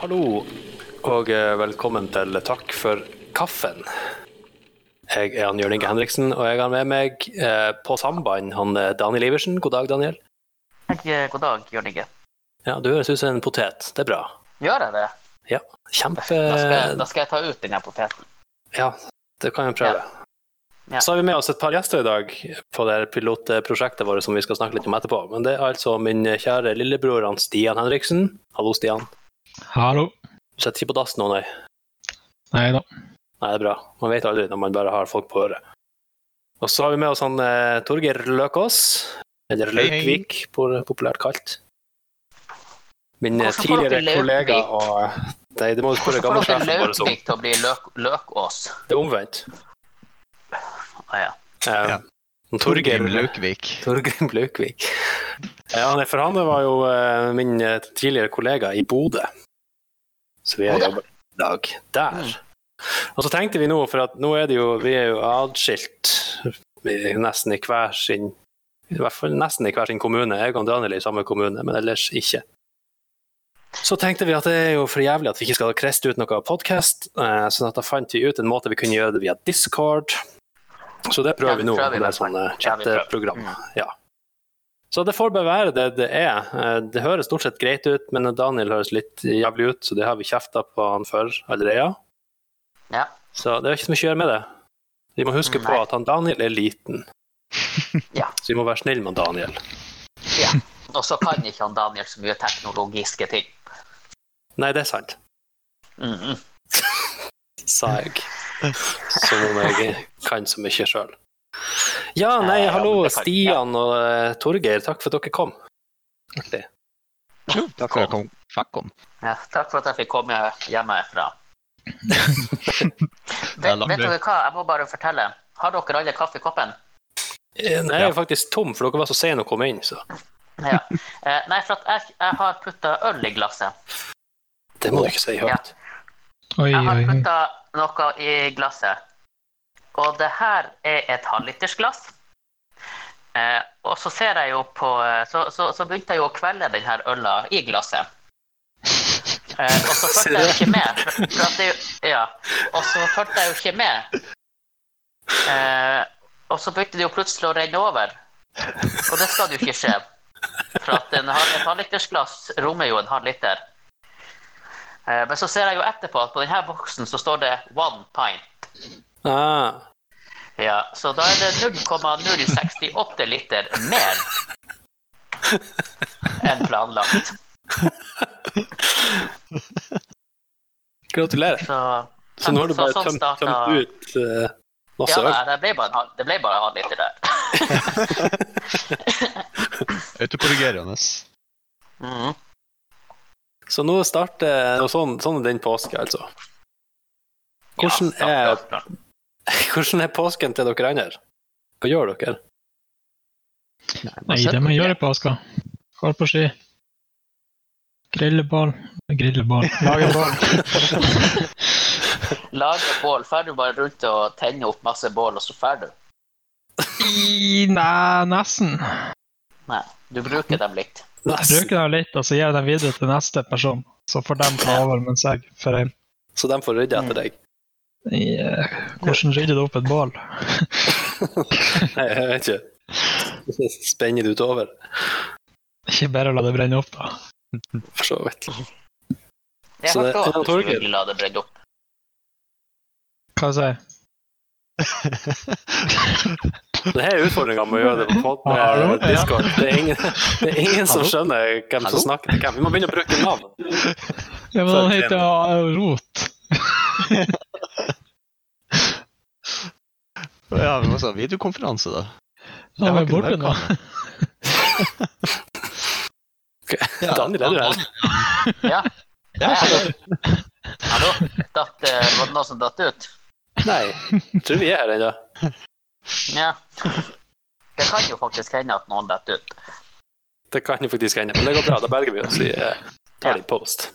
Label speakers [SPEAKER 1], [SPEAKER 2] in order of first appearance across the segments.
[SPEAKER 1] Hallo, og eh, velkommen til Takk for kaffen. Jeg er han Jørn Inge Henriksen, og jeg har med meg eh, på samband han eh, Daniel Iversen. God dag, Daniel.
[SPEAKER 2] Hei, eh, god dag, Jørn Inge.
[SPEAKER 1] Ja, du høres ut som en potet. Det er bra.
[SPEAKER 2] Gjør jeg det?
[SPEAKER 3] Eh,
[SPEAKER 2] Da
[SPEAKER 1] Kjempe...
[SPEAKER 2] skal, jeg- da skal jeg ta ut den her poteten.
[SPEAKER 1] Ja, det kan vi prøve.
[SPEAKER 2] Ja.
[SPEAKER 1] Så har vi med oss et par gjester i dag på det her pilotprosjektet vårt som vi skal snakke litt om etterpå. Men det er altså min kjære lillebror han Stian Henriksen. Hallo, Stian.
[SPEAKER 3] Hallo.
[SPEAKER 1] Du sitter ikke på dass nå, nei?
[SPEAKER 3] Nei da.
[SPEAKER 1] Nei, det er bra. Man vet aldri når man bare har folk på øret. Og så har vi med oss han eh, Torgeir Løkås, eller
[SPEAKER 3] Hei, hei.
[SPEAKER 1] Løkvik, pol- populært kalt. Min eh,
[SPEAKER 2] Hvorfor får dere
[SPEAKER 1] tidligere
[SPEAKER 2] Løkvik?
[SPEAKER 1] kollega og eh, Nei, det må du sånn. spørre
[SPEAKER 2] Hvordan får
[SPEAKER 1] gammelsjefen vår
[SPEAKER 2] dere
[SPEAKER 1] om.
[SPEAKER 2] Laukvik til å bli løk, Løkås?
[SPEAKER 1] Det er omvendt.
[SPEAKER 2] Ah, ja.
[SPEAKER 1] Eh,
[SPEAKER 3] Ja.
[SPEAKER 1] Torgeir
[SPEAKER 3] Laukvik.
[SPEAKER 1] Torgrim Løkvik. Ja, nei, for han var jo eh, min eh, tidligere kollega i Bodø. Så vi har
[SPEAKER 2] Bodø?
[SPEAKER 1] jobbet i dag der.
[SPEAKER 2] Mm.
[SPEAKER 1] Og så tenkte vi nå, for at nå er det jo, vi er jo adskilt i- nesten i hver sin i hvert fall nesten i hver sin kommune. Jeg og Daniel er i samme kommune, men ellers ikke. Så tenkte vi at det er jo for jævlig at vi ikke skal kreste ut noe podkast, så da fant vi ut en måte vi kunne gjøre det via Discord. Så det
[SPEAKER 2] Ja,
[SPEAKER 1] prøver
[SPEAKER 2] vi
[SPEAKER 1] vi nå.
[SPEAKER 2] prøver
[SPEAKER 1] Det
[SPEAKER 2] i
[SPEAKER 1] er
[SPEAKER 2] hvert fall.
[SPEAKER 1] sånn eh,
[SPEAKER 2] Ja, vi prøver.
[SPEAKER 1] chatteprogram.
[SPEAKER 2] Mm.
[SPEAKER 1] Ja. Så det får bare være det det er. Eh, Det høres stort sett greit ut, men Daniel høres litt jævlig ut, så det har vi kjefta på han før allerede.
[SPEAKER 2] Ja.
[SPEAKER 1] Så det er ikke så mye å gjøre med det. Vi må huske på
[SPEAKER 2] Nei.
[SPEAKER 1] at han Daniel er liten.
[SPEAKER 2] Ja.
[SPEAKER 1] Så vi må være snill med han Daniel.
[SPEAKER 2] Og så kan ikke han Daniel så mye teknologiske ting.
[SPEAKER 1] Nei, det er sant,
[SPEAKER 2] Mm -mm.
[SPEAKER 1] sa jeg. Som om jeg kan så mye sjøl. Ja, nei,
[SPEAKER 2] Eh, ja,
[SPEAKER 1] hallo,
[SPEAKER 2] men det kan-
[SPEAKER 1] Stian og eh, Torgeir. Takk for at dere kom. Artig.
[SPEAKER 3] Jo, takk for at jeg kom. Fuck om.
[SPEAKER 2] Ja, takk for at jeg fikk komme hjemmefra.
[SPEAKER 3] er
[SPEAKER 2] vet,
[SPEAKER 3] lang
[SPEAKER 2] vet
[SPEAKER 3] vei.
[SPEAKER 2] dere hva, jeg må bare fortelle. Har dere alle kaffe i koppen?
[SPEAKER 1] Eh, Nei, jeg er faktisk tom, for dere var så sene å komme inn, så
[SPEAKER 2] Ja. Eh, nei, for at jeg, jeg har putta øl i glasset.
[SPEAKER 1] det må du ikke si høyt.
[SPEAKER 3] Oi,
[SPEAKER 2] Jeg har
[SPEAKER 3] oi, oi.
[SPEAKER 2] putta noe i glasset. Og det her er et halvlitersglass. Eh, og så ser jeg jo på eh, Så, så, så begynte jeg jo å kvelde den her øla i glasset. Eh, og så
[SPEAKER 1] Ser
[SPEAKER 2] fulgte jeg jo ikke med. For, for at det, er jo- ja. Og så fulgte jeg jo ikke med. Eh, og så begynte det jo plutselig å renne over. Og det skal jo ikke skje. For at en, halv- et halvlitersglass rommer jo en halv liter. Eh, Men så ser jeg jo etterpå at på denne boksen så står det one pint.
[SPEAKER 1] Ah,
[SPEAKER 2] Ja, så da er det 0,068 liter mer enn planlagt.
[SPEAKER 1] gratulerer.
[SPEAKER 2] Så,
[SPEAKER 1] Så nå har du bare
[SPEAKER 2] sånn
[SPEAKER 1] tømt,
[SPEAKER 2] starta-
[SPEAKER 1] tømt ut eh, masse
[SPEAKER 2] Ja,
[SPEAKER 1] øl.
[SPEAKER 2] nei, det ble bare en halv- det ble bare en halv liter der.
[SPEAKER 3] Autokorrigerende.
[SPEAKER 2] Mhm.
[SPEAKER 1] Så nå starter og sånn, sånn er den påske, altså. Hvordan
[SPEAKER 2] Ja,
[SPEAKER 1] er,
[SPEAKER 2] starta- starta.
[SPEAKER 1] hvordan er påsken til dere andre? Hva gjør dere?
[SPEAKER 3] Nei, det må jeg gjøre på Aska. Går på ski. Grilleball. Grilleball. Lagerball.
[SPEAKER 2] Lage bål, drar du bare rundt og tenner opp masse bål, og så drar du?
[SPEAKER 3] I, nei, nesten.
[SPEAKER 2] Nei, du bruker dem likt.
[SPEAKER 1] Nesten.
[SPEAKER 3] Bruker dem litt, og så gir jeg dem videre til neste person. Så får de ta over mens jeg får hjem.
[SPEAKER 1] Så de får rydde
[SPEAKER 3] Mm.
[SPEAKER 1] etter deg.
[SPEAKER 3] I, eh, Hvordan rydder du opp et bål?
[SPEAKER 1] Nei, jeg vet ikke. Så Spenner det utover,
[SPEAKER 3] Ikke bare la det brenne opp, da.
[SPEAKER 1] for så vidt.
[SPEAKER 2] Jeg
[SPEAKER 1] Så det-
[SPEAKER 2] hørte også
[SPEAKER 1] Torgeir-
[SPEAKER 2] at du skulle la det brenne opp.
[SPEAKER 3] Hva sier jeg?
[SPEAKER 1] Det her er utfordringa med å gjøre det på måten
[SPEAKER 3] Hallo?
[SPEAKER 1] med Discord. Det er ingen, det er ingen som
[SPEAKER 3] Hallo?
[SPEAKER 1] skjønner hvem som
[SPEAKER 2] Hallo?
[SPEAKER 1] snakker til hvem. Vi må begynne å bruke navn.
[SPEAKER 3] Ja, men
[SPEAKER 1] Så
[SPEAKER 3] han
[SPEAKER 1] er det
[SPEAKER 3] heter eh, Rot.
[SPEAKER 4] Ja, vi må ha videokonferanse, da. Jeg
[SPEAKER 3] Han
[SPEAKER 4] har
[SPEAKER 3] er
[SPEAKER 4] ikke
[SPEAKER 3] borte nå.
[SPEAKER 4] webcam. Ja,
[SPEAKER 1] Daniel, er du her?
[SPEAKER 2] Ja,
[SPEAKER 4] Ja,
[SPEAKER 2] hallo? Datt, eh, var det noe som datt ut?
[SPEAKER 1] Nei, jeg tror vi er her ennå.
[SPEAKER 2] Ja. Det kan jo faktisk hende at noen detter ut.
[SPEAKER 1] Det kan jo faktisk hende, men det går bra. Da berger vi oss i eh, tar det i post.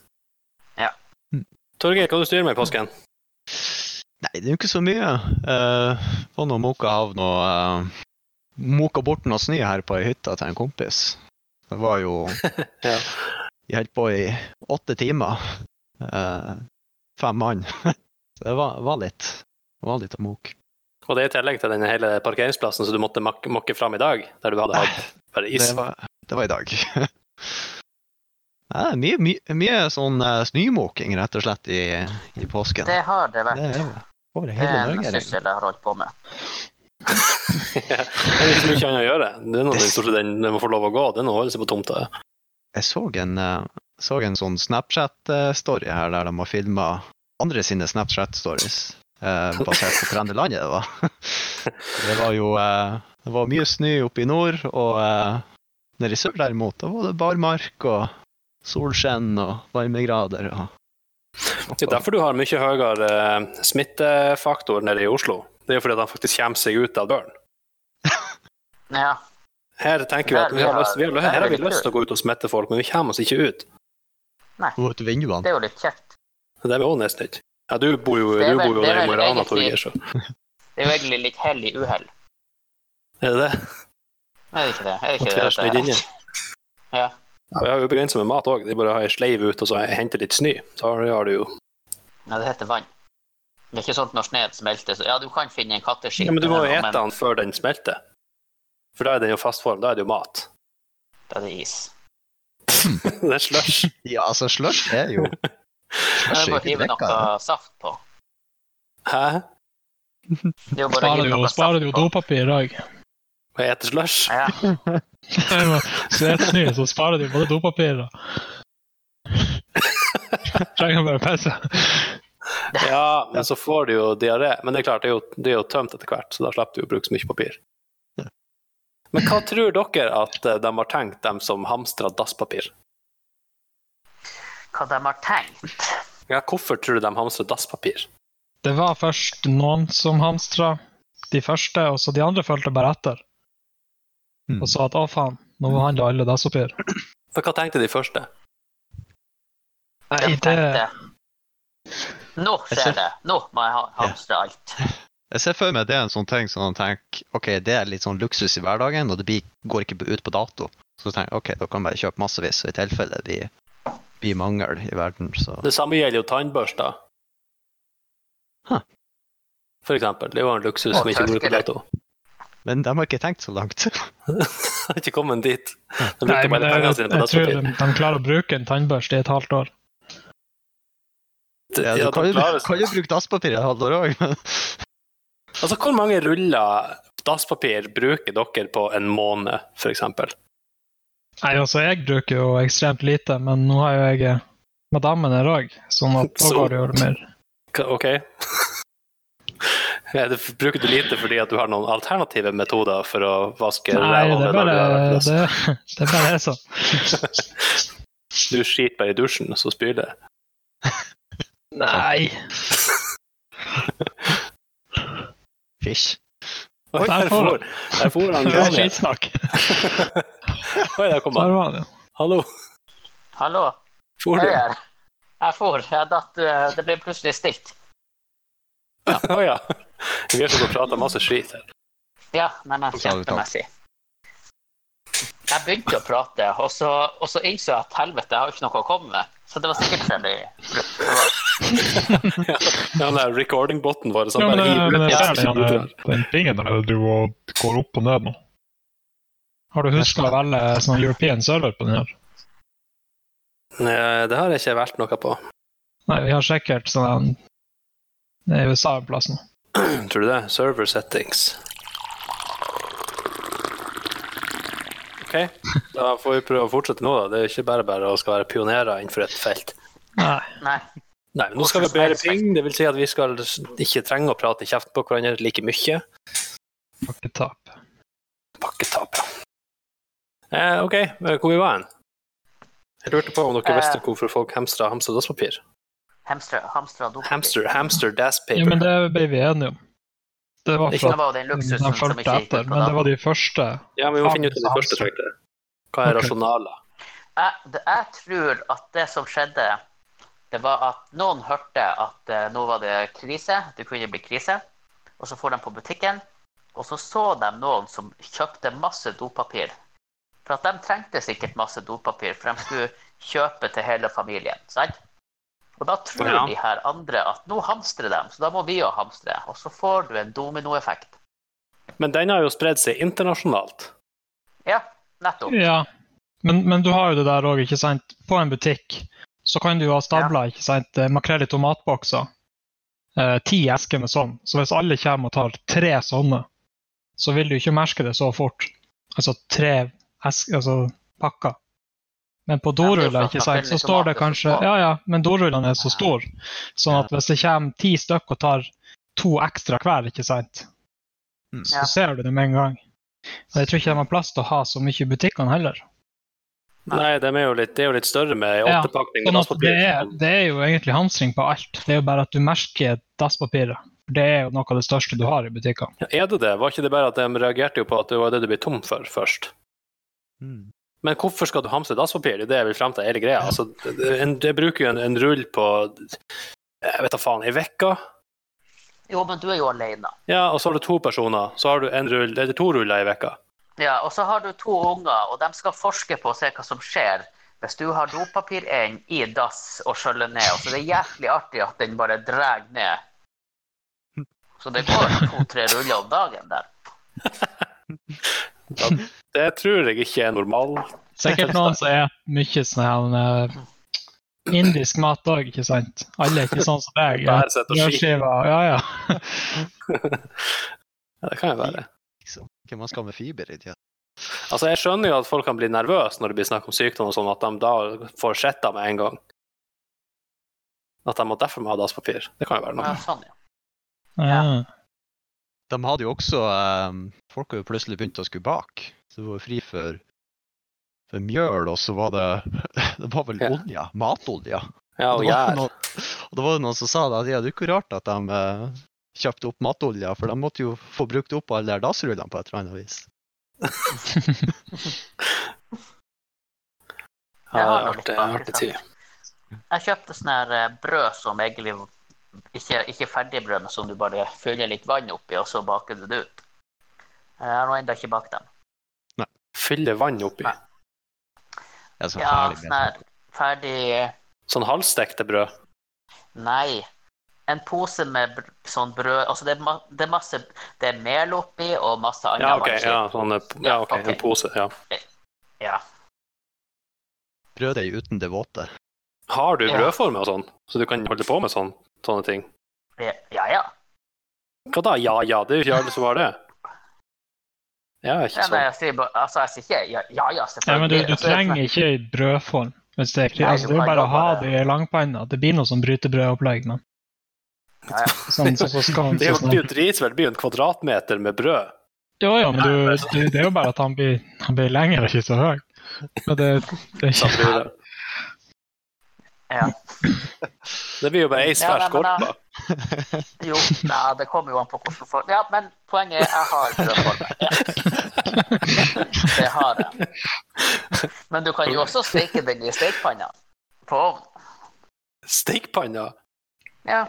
[SPEAKER 2] Ja.
[SPEAKER 1] Mm. Torgeir, hva du styrer med i påsken?
[SPEAKER 4] Nei, det er jo ikke så mye. Uh, var nå moka havn og uh, moka bort noe snø her på ei hytte til en kompis. Det var jo
[SPEAKER 1] Ja.
[SPEAKER 4] Vi holdt på i åtte timer. eh, fem mann. Så det var, var litt det var litt amok.
[SPEAKER 1] Og det er i tillegg til den hele parkeringsplassen som du måtte mak mokke fram i dag, der du hadde hatt bare is.
[SPEAKER 4] Det var, det var i dag. Ja, det er mye, mye, mye sånn eh, snømåking, rett og slett, i, i påsken.
[SPEAKER 2] Det har det vært.
[SPEAKER 4] Det er jo over
[SPEAKER 2] Det
[SPEAKER 4] hele
[SPEAKER 2] er en
[SPEAKER 4] Norge. egentlig.
[SPEAKER 2] syssel jeg har holdt på med.
[SPEAKER 1] Ja. Det er liksom ikke annet å gjøre. Det er noe den, stort sett den, den må få lov å gå, det er noe å holde seg på tomta.
[SPEAKER 4] Jeg så en, eh, så en sånn Snapchat-story her der de har filma andre sine Snapchat-stories eh, basert på Trøndelandet. Det var Det var jo eh, det var mye snø oppe i nord, og eh, nede i sør derimot da var det barmark og solskinn og varmegrader. Og,
[SPEAKER 1] Det er derfor du har mye høyere eh, smittefaktor nede i Oslo. Det er jo fordi at han faktisk kommer seg ut av døren.
[SPEAKER 2] Ja.
[SPEAKER 1] Her tenker vi at vi har lyst, vi har, lyst- her har vi
[SPEAKER 2] Det er
[SPEAKER 1] lyst til å gå ut og smitte folk, men vi kommer oss ikke ut.
[SPEAKER 4] og ut vinduene.
[SPEAKER 2] Det er jo litt kjekt.
[SPEAKER 1] Det er vi også nesten ikke. Ja, du bor jo,
[SPEAKER 2] Det er
[SPEAKER 1] du
[SPEAKER 2] vel-
[SPEAKER 1] bor jo
[SPEAKER 2] det
[SPEAKER 1] nede
[SPEAKER 2] er
[SPEAKER 1] i Mo i
[SPEAKER 2] vel
[SPEAKER 1] Rana,
[SPEAKER 2] egentlig-
[SPEAKER 1] Torgeir, så
[SPEAKER 2] Det er jo egentlig litt hell i uhell.
[SPEAKER 1] er det det?
[SPEAKER 2] Er det ikke det? Er det
[SPEAKER 1] At
[SPEAKER 2] ikke
[SPEAKER 1] vi
[SPEAKER 2] det?
[SPEAKER 1] har snidd inne?
[SPEAKER 2] Ja.
[SPEAKER 1] Ja, vi har jo begrenset med mat òg. Det er bare å ha ei sleiv ut og så hente litt snø. Så har- har du jo
[SPEAKER 2] Nei, det heter vann. Det er ikke sånn at når sneen smelter, så Ja, du kan finne en katteskitt.
[SPEAKER 1] Ja, Men du må jo
[SPEAKER 2] eller noe,
[SPEAKER 1] ete den før den smelter. For da er den jo fast form. Da er det jo mat.
[SPEAKER 2] men Da er det is.
[SPEAKER 1] Det er slush.
[SPEAKER 4] Ja, altså, slush er jo
[SPEAKER 2] Da er det bare
[SPEAKER 4] slush er
[SPEAKER 2] å
[SPEAKER 4] ikke
[SPEAKER 2] hive
[SPEAKER 4] drikka.
[SPEAKER 2] noe saft på.
[SPEAKER 1] Hæ?
[SPEAKER 2] Det er jo bare å
[SPEAKER 3] Sparer
[SPEAKER 2] hive
[SPEAKER 3] jo,
[SPEAKER 2] noe
[SPEAKER 3] sparer
[SPEAKER 2] saft
[SPEAKER 3] jo
[SPEAKER 2] på.
[SPEAKER 3] dopapir i dag.
[SPEAKER 1] Å ete slush?
[SPEAKER 2] Ja,
[SPEAKER 3] Det var- Så det er helt ny, så sparer du både dopapir og Trenger bare pisse.
[SPEAKER 1] Ja, men så får du jo diaré. Men det er klart, det er jo, det er jo tømt etter hvert, så da slipper du å bruke så mye papir. Men hva tror dere at eh, de har tenkt, dem som hamstrer dasspapir?
[SPEAKER 2] hva de har tenkt.
[SPEAKER 1] Ja, hvorfor tror du de hamstrer dasspapir?
[SPEAKER 3] Det var først noen som hamstra de første, og så de andre fulgte bare etter.
[SPEAKER 1] Hmm.
[SPEAKER 4] Mm.
[SPEAKER 3] Og sa at å faen, nå handler alle dasspapir.
[SPEAKER 1] For hva tenkte de første?
[SPEAKER 3] Nei,
[SPEAKER 2] De
[SPEAKER 3] det,
[SPEAKER 2] tenkte Nå skjer det. Nå må jeg ha- hamstre alt.
[SPEAKER 4] Jeg ser for meg det er en sånn ting som man tenker ok, det er litt sånn luksus i hverdagen, og det blir, går ikke ut på dato. Så tenker jeg ok, da kan jeg bare kjøpe massevis, og i tilfelle det blir, blir mangel i verden, så
[SPEAKER 1] Det samme gjelder jo tannbørster.
[SPEAKER 4] Huh.
[SPEAKER 1] For eksempel. Det var en luksus
[SPEAKER 2] Og
[SPEAKER 1] som ikke går ut på
[SPEAKER 2] tørkere.
[SPEAKER 1] dato.
[SPEAKER 4] Men de har ikke tenkt så langt.
[SPEAKER 1] Jeg har ikke kommet dit. De
[SPEAKER 3] nei,
[SPEAKER 1] brukte
[SPEAKER 3] men
[SPEAKER 1] bare pengene
[SPEAKER 3] jeg,
[SPEAKER 1] sine
[SPEAKER 3] jeg,
[SPEAKER 1] på
[SPEAKER 3] tror
[SPEAKER 1] dasspapir.
[SPEAKER 3] de, de klarer å bruke en tannbørste i et halvt år.
[SPEAKER 1] Ja,
[SPEAKER 4] du
[SPEAKER 1] de
[SPEAKER 4] kan, jo,
[SPEAKER 1] klarer seg.
[SPEAKER 4] kan jo bruke dasspapir et halvt år òg, men
[SPEAKER 1] Altså, hvor mange ruller dasspapir bruker dere på en måned, for eksempel?
[SPEAKER 3] Nei, altså, jeg bruker jo ekstremt lite, men nå har jo jeg eh, madammen her òg, sånn at da
[SPEAKER 1] Så-
[SPEAKER 3] går det jo mer.
[SPEAKER 1] K- OK. Ja, det bruker du lite fordi at du har noen alternative metoder for å vaske
[SPEAKER 3] Nei,
[SPEAKER 1] ræva
[SPEAKER 3] det er
[SPEAKER 1] med når
[SPEAKER 3] bare
[SPEAKER 1] du har vært løs?
[SPEAKER 3] det, det er bare sånn.
[SPEAKER 1] Du skiter bare i dusjen, så spyr det.
[SPEAKER 3] Nei.
[SPEAKER 4] Fysj.
[SPEAKER 1] Oi,
[SPEAKER 3] Der
[SPEAKER 1] der
[SPEAKER 3] får
[SPEAKER 1] for, der for han
[SPEAKER 3] Det var
[SPEAKER 1] Daniel.
[SPEAKER 3] skitsnakk.
[SPEAKER 1] Oi, der kom
[SPEAKER 3] Der
[SPEAKER 1] han.
[SPEAKER 3] var det.
[SPEAKER 1] Hallo.
[SPEAKER 2] Hallo,
[SPEAKER 1] For
[SPEAKER 2] jeg
[SPEAKER 1] du?
[SPEAKER 2] er her. Jeg for. Jeg datt eh, Det ble plutselig stilt.
[SPEAKER 1] Å ja. Vi har stått og prata masse skit her.
[SPEAKER 2] Ja, nei, nei,
[SPEAKER 4] Så har vi tapt.
[SPEAKER 2] kjempemessig. Jeg begynte å prate, og så, og så innså jeg at helvete, jeg har jo ikke noe å komme med. Så det var sikkert fordi det var
[SPEAKER 1] Ja, den der recording-boten vår som
[SPEAKER 3] Ja, men,
[SPEAKER 1] bare hiver
[SPEAKER 3] men
[SPEAKER 1] ut
[SPEAKER 3] jeg
[SPEAKER 1] masse
[SPEAKER 3] ser
[SPEAKER 1] skit
[SPEAKER 3] den,
[SPEAKER 1] ut.
[SPEAKER 3] eh, den pingen der du og går opp og ned nå. Har du husket å velge sånn European server på den her?
[SPEAKER 1] Nei, eh, Det har jeg ikke valgt noe på.
[SPEAKER 3] Nei, vi har sikkert sånn Det er USA en plass nå.
[SPEAKER 1] Tror du det? Server settings. OK, da får vi prøve å fortsette nå, da. Det er jo ikke bare bare å skal være pionerer innenfor et felt.
[SPEAKER 3] Nei.
[SPEAKER 2] Nei.
[SPEAKER 1] Nei, men nå skal vi ha bedre ping, det vil si at vi skal ikke trenge å prate i kjeften på hverandre like mye.
[SPEAKER 3] Ikke tap.
[SPEAKER 1] Pakketap, ja. Eh, OK, eh, hvor vi var hen? Jeg lurte på om dere
[SPEAKER 2] Eh.
[SPEAKER 1] visste hvorfor folk hamstrer hamstrer dasspapir.
[SPEAKER 2] Hamstra, hamstra dopapir.
[SPEAKER 1] Hamster, hamster
[SPEAKER 3] Ja,
[SPEAKER 1] dasspapir.
[SPEAKER 3] men det ble vi enige om. Det var
[SPEAKER 1] Ikke
[SPEAKER 3] for
[SPEAKER 2] Det
[SPEAKER 3] at
[SPEAKER 2] var jo den
[SPEAKER 3] de
[SPEAKER 2] luksusen som
[SPEAKER 3] fulgte
[SPEAKER 2] ikke gikk
[SPEAKER 3] etter,
[SPEAKER 2] ut på
[SPEAKER 3] men det
[SPEAKER 2] dato.
[SPEAKER 3] var de første.
[SPEAKER 1] Ja, men vi må finne ut av det første, tror jeg. Hva er
[SPEAKER 3] Ok.
[SPEAKER 1] rasjonaler?
[SPEAKER 2] Jeg, det- jeg tror at det som skjedde, det var at noen hørte at eh, nå var det krise, det kunne bli krise. Og så for de på butikken, og så så de noen som kjøpte masse dopapir. For at de trengte sikkert masse dopapir, for de skulle kjøpe til hele familien. sant? Og da tror
[SPEAKER 1] Ja.
[SPEAKER 2] de her andre at nå hamstrer dem, så da må vi jo hamstre. Og så får du en dominoeffekt.
[SPEAKER 1] Men den har jo spredd seg internasjonalt.
[SPEAKER 2] Ja, nettopp.
[SPEAKER 3] Ja, men, men du har jo det der òg, ikke sant. På en butikk så kan du jo ha stabla ikke sant, eh, makrell i tomatbokser. Eh, ti esker med sånn. Så hvis alle kommer og tar tre sånne, så vil du ikke merke det så fort. Altså tre esker, altså pakker. Men på
[SPEAKER 2] det er jo for
[SPEAKER 3] doruller
[SPEAKER 2] at
[SPEAKER 3] ikke sant,
[SPEAKER 2] makrell i
[SPEAKER 3] så står det
[SPEAKER 2] tomat er så
[SPEAKER 3] kanskje
[SPEAKER 2] smak.
[SPEAKER 3] Ja, ja, men dorullene er så
[SPEAKER 2] Ja.
[SPEAKER 3] store. Sånn at hvis det kommer ti stykk og tar to ekstra hver, ikke sant,
[SPEAKER 4] Mm.
[SPEAKER 3] så
[SPEAKER 2] Ja.
[SPEAKER 3] ser du det med en gang. Og jeg tror ikke de har plass til å ha så mye i butikkene heller.
[SPEAKER 1] Nei, de er jo litt, det er jo litt større med
[SPEAKER 3] Ja,
[SPEAKER 1] åttepakning med
[SPEAKER 3] Sånn at det,
[SPEAKER 1] dasspapir.
[SPEAKER 3] er, det er jo egentlig hamstring på alt. Det er jo bare at du merker dasspapiret. For Det er jo noe av det største du har i butikkene.
[SPEAKER 1] Ja, Er det det? Var ikke det bare at de reagerte jo på at det var det du ble tom for først?
[SPEAKER 4] Mm.
[SPEAKER 1] Men hvorfor skal du hamstre dasspapir? Det er det jeg vil frem til hele greia. Altså, det- en, det bruker jo en, en rull på jeg vet da faen, ei uke.
[SPEAKER 2] Jo, men du er jo alene.
[SPEAKER 1] Ja, og så har du to personer. Så har du en rull, eller to ruller i vekka.
[SPEAKER 2] Ja, og så har du to unger, og de skal forske på og se hva som skjer hvis du har dopapir inn i dass og skjøller ned. Og så det er jævlig artig at den bare drar ned. Så det går to-tre ruller om dagen der.
[SPEAKER 1] Det tror jeg ikke er normal.
[SPEAKER 3] Sikkert noen som er mye sånn her, eh, indisk mat òg, ikke sant? Alle er ikke sånn som deg. ja.
[SPEAKER 1] Bare sett og ski.
[SPEAKER 3] Brødskiver, ja ja.
[SPEAKER 1] Ja, det kan jo være.
[SPEAKER 4] Liksom. Hva man skal med fiber i tida.
[SPEAKER 1] Altså, jeg skjønner jo at folk kan bli nervøse når det blir snakk om sykdom og sånn, at de da får sett det med en gang. At de må derfor må ha dasspapir. Det kan jo være
[SPEAKER 2] Ja,
[SPEAKER 1] noe.
[SPEAKER 2] sånn, ja.
[SPEAKER 3] ja.
[SPEAKER 4] De hadde jo også eh, Folk har jo plutselig begynt å skulle bake. Så det var jo fri for, for mjøl, og så var det Det var vel
[SPEAKER 1] Ja.
[SPEAKER 4] olje? Matolje.
[SPEAKER 1] Ja, og
[SPEAKER 4] det var
[SPEAKER 1] gjær.
[SPEAKER 4] noen, og det var jo noen som sa det, at ja, det er ikke rart at de eh, kjøpte opp matolje, for de måtte jo få brukt opp alle der dassrullene på et eller annet vis.
[SPEAKER 1] Ja, det
[SPEAKER 2] Jeg
[SPEAKER 1] er
[SPEAKER 2] har
[SPEAKER 1] artig,
[SPEAKER 2] noe
[SPEAKER 1] artig tid.
[SPEAKER 2] Jeg kjøpte sånn her eh, brød som egentlig ikke, ikke ferdigbrød, men som du bare fyller litt vann oppi, og så baker du det ut. Eh, Jeg har nå ennå ikke bakt dem.
[SPEAKER 1] Fylle vann oppi.
[SPEAKER 4] Det er så
[SPEAKER 2] Ja,
[SPEAKER 4] herlig
[SPEAKER 2] sånn
[SPEAKER 4] med
[SPEAKER 2] her ferdig
[SPEAKER 1] Sånn halvstekte brød.
[SPEAKER 2] Nei. En pose med br sånn brød Altså, det er, ma det er masse Det er mel oppi og masse annet.
[SPEAKER 1] Ja, OK.
[SPEAKER 2] vanskelig.
[SPEAKER 1] Ja, sånn, ja, ok, En pose. Ja.
[SPEAKER 2] Ja.
[SPEAKER 4] brødet uten det våte.
[SPEAKER 1] Har du
[SPEAKER 2] Ja.
[SPEAKER 1] brødformer og sånn, så du kan holde på med sånn, sånne ting?
[SPEAKER 2] Det- ja, ja.
[SPEAKER 1] Hva da? Ja ja, det er jo ikke alle som har det. Ja, ikke
[SPEAKER 2] ja nei,
[SPEAKER 1] sånn.
[SPEAKER 2] jeg sier bare Altså, jeg sier ikke ja, ja, ja
[SPEAKER 3] Nei, men du,
[SPEAKER 2] selvfølgelig. Altså,
[SPEAKER 3] du trenger ikke i brødform. Hvis det, er, kri-
[SPEAKER 2] Nei,
[SPEAKER 3] altså, det er
[SPEAKER 2] du
[SPEAKER 3] jo
[SPEAKER 2] kan
[SPEAKER 3] bare å ha
[SPEAKER 2] jobbe
[SPEAKER 3] det i langpanna. Det blir noe sånn brytebrødopplegg, men
[SPEAKER 2] Ja, ja.
[SPEAKER 3] sånn, sånn, som scones
[SPEAKER 1] Det er
[SPEAKER 3] og
[SPEAKER 1] jo- det
[SPEAKER 3] sånn.
[SPEAKER 1] er jo dritsvært. Det blir jo en kvadratmeter med brød.
[SPEAKER 3] Jo, jo, men du, du, det er jo bare at han blir, han blir lengre, ikke så høy. Men det, det er
[SPEAKER 1] Så
[SPEAKER 3] ikke
[SPEAKER 1] blir det.
[SPEAKER 2] Ja.
[SPEAKER 1] Det blir jo bare ei svær
[SPEAKER 2] Ja, nei, men da-
[SPEAKER 1] skorpe.
[SPEAKER 2] Jo, nei, det kommer jo an på hvordan folk Ja, men poenget er jeg har brødformer. Ja. Det har jeg. Men du kan jo også steke den i stekepanna. På ovnen.
[SPEAKER 1] Stekepanna?
[SPEAKER 2] Ja.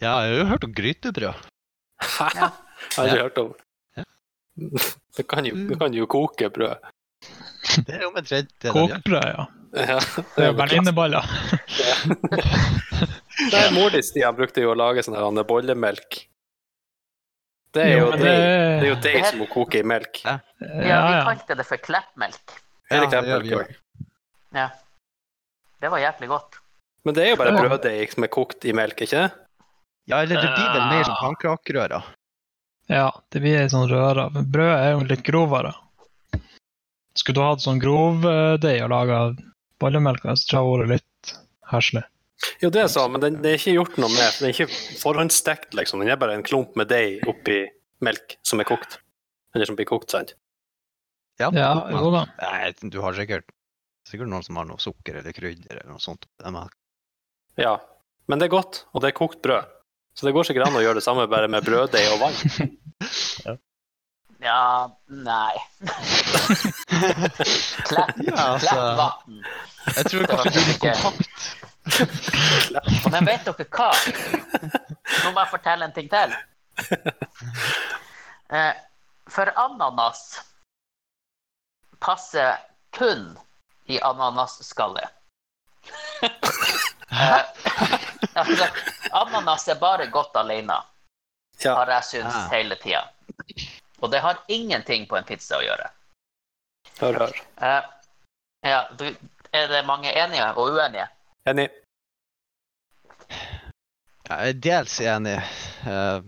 [SPEAKER 4] Ja, jeg har jo hørt om grytebrød.
[SPEAKER 1] Hæ?
[SPEAKER 2] Ja.
[SPEAKER 1] Har jeg ikke hørt om.
[SPEAKER 4] Ja.
[SPEAKER 1] Du kan, jo, du kan jo koke brød.
[SPEAKER 4] Det er jo omtrent det de gjør.
[SPEAKER 3] kokbrød, ja.
[SPEAKER 1] Ja,
[SPEAKER 3] Det er jo berlinerballer.
[SPEAKER 1] Nei, mor di, Stian, brukte jo å lage sånn her Anne, bollemelk. Det er jo
[SPEAKER 3] men
[SPEAKER 1] det, det er jo
[SPEAKER 3] det-
[SPEAKER 1] deg som må koke i melk.
[SPEAKER 4] Ja.
[SPEAKER 2] ja, vi
[SPEAKER 3] Ja, ja.
[SPEAKER 2] kalte det for kleppmelk.
[SPEAKER 4] Ja,
[SPEAKER 1] Eller
[SPEAKER 4] det gjør
[SPEAKER 1] knepper,
[SPEAKER 4] vi jo.
[SPEAKER 2] Det var jævlig godt.
[SPEAKER 1] Men det er jo bare brøddeig som er kokt i melk, ikke det?
[SPEAKER 4] Ja, eller det blir vel mer som pannekakerøre.
[SPEAKER 3] ja, det blir ei sånn røre. Men brødet er jo litt grovere. Skulle du hatt sånn grovdeig og laga bollemelk, så tror jeg det hadde vært litt heslig.
[SPEAKER 1] Jo, det er sånn, men den, det er ikke gjort noe med. for Den er ikke forhåndsstekt, liksom. Den er bare en klump med deig oppi melk som er kokt. Eller som blir kokt, sant?
[SPEAKER 4] Ja,
[SPEAKER 3] Ja,
[SPEAKER 4] men-
[SPEAKER 3] jo da.
[SPEAKER 4] Nei, du har sikkert sikkert noen som har noe sukker eller krydder eller noe sånt. De har-
[SPEAKER 1] Ja. Men det er godt, og det er kokt brød. Så det går sikkert an å gjøre det samme, bare med brøddeig og vann.
[SPEAKER 2] Ja, nei. Klepp,
[SPEAKER 4] Ja, altså.
[SPEAKER 2] Kleppvatn.
[SPEAKER 4] Jeg tror kanskje det blir kompakt.
[SPEAKER 2] Men vet dere hva? Nå må jeg fortelle en ting til. Eh, For ananas passer kun i ananasskallet. Eh, altså, Ananas er bare godt alene,
[SPEAKER 1] Ja.
[SPEAKER 2] har jeg syntes
[SPEAKER 4] Ah.
[SPEAKER 2] hele tida. Og det har ingenting på en pizza å gjøre.
[SPEAKER 1] Hør, hør.
[SPEAKER 2] Eh, ja, du, er det mange enige og uenige?
[SPEAKER 1] Enig.
[SPEAKER 4] Jeg er dels enig. Eh,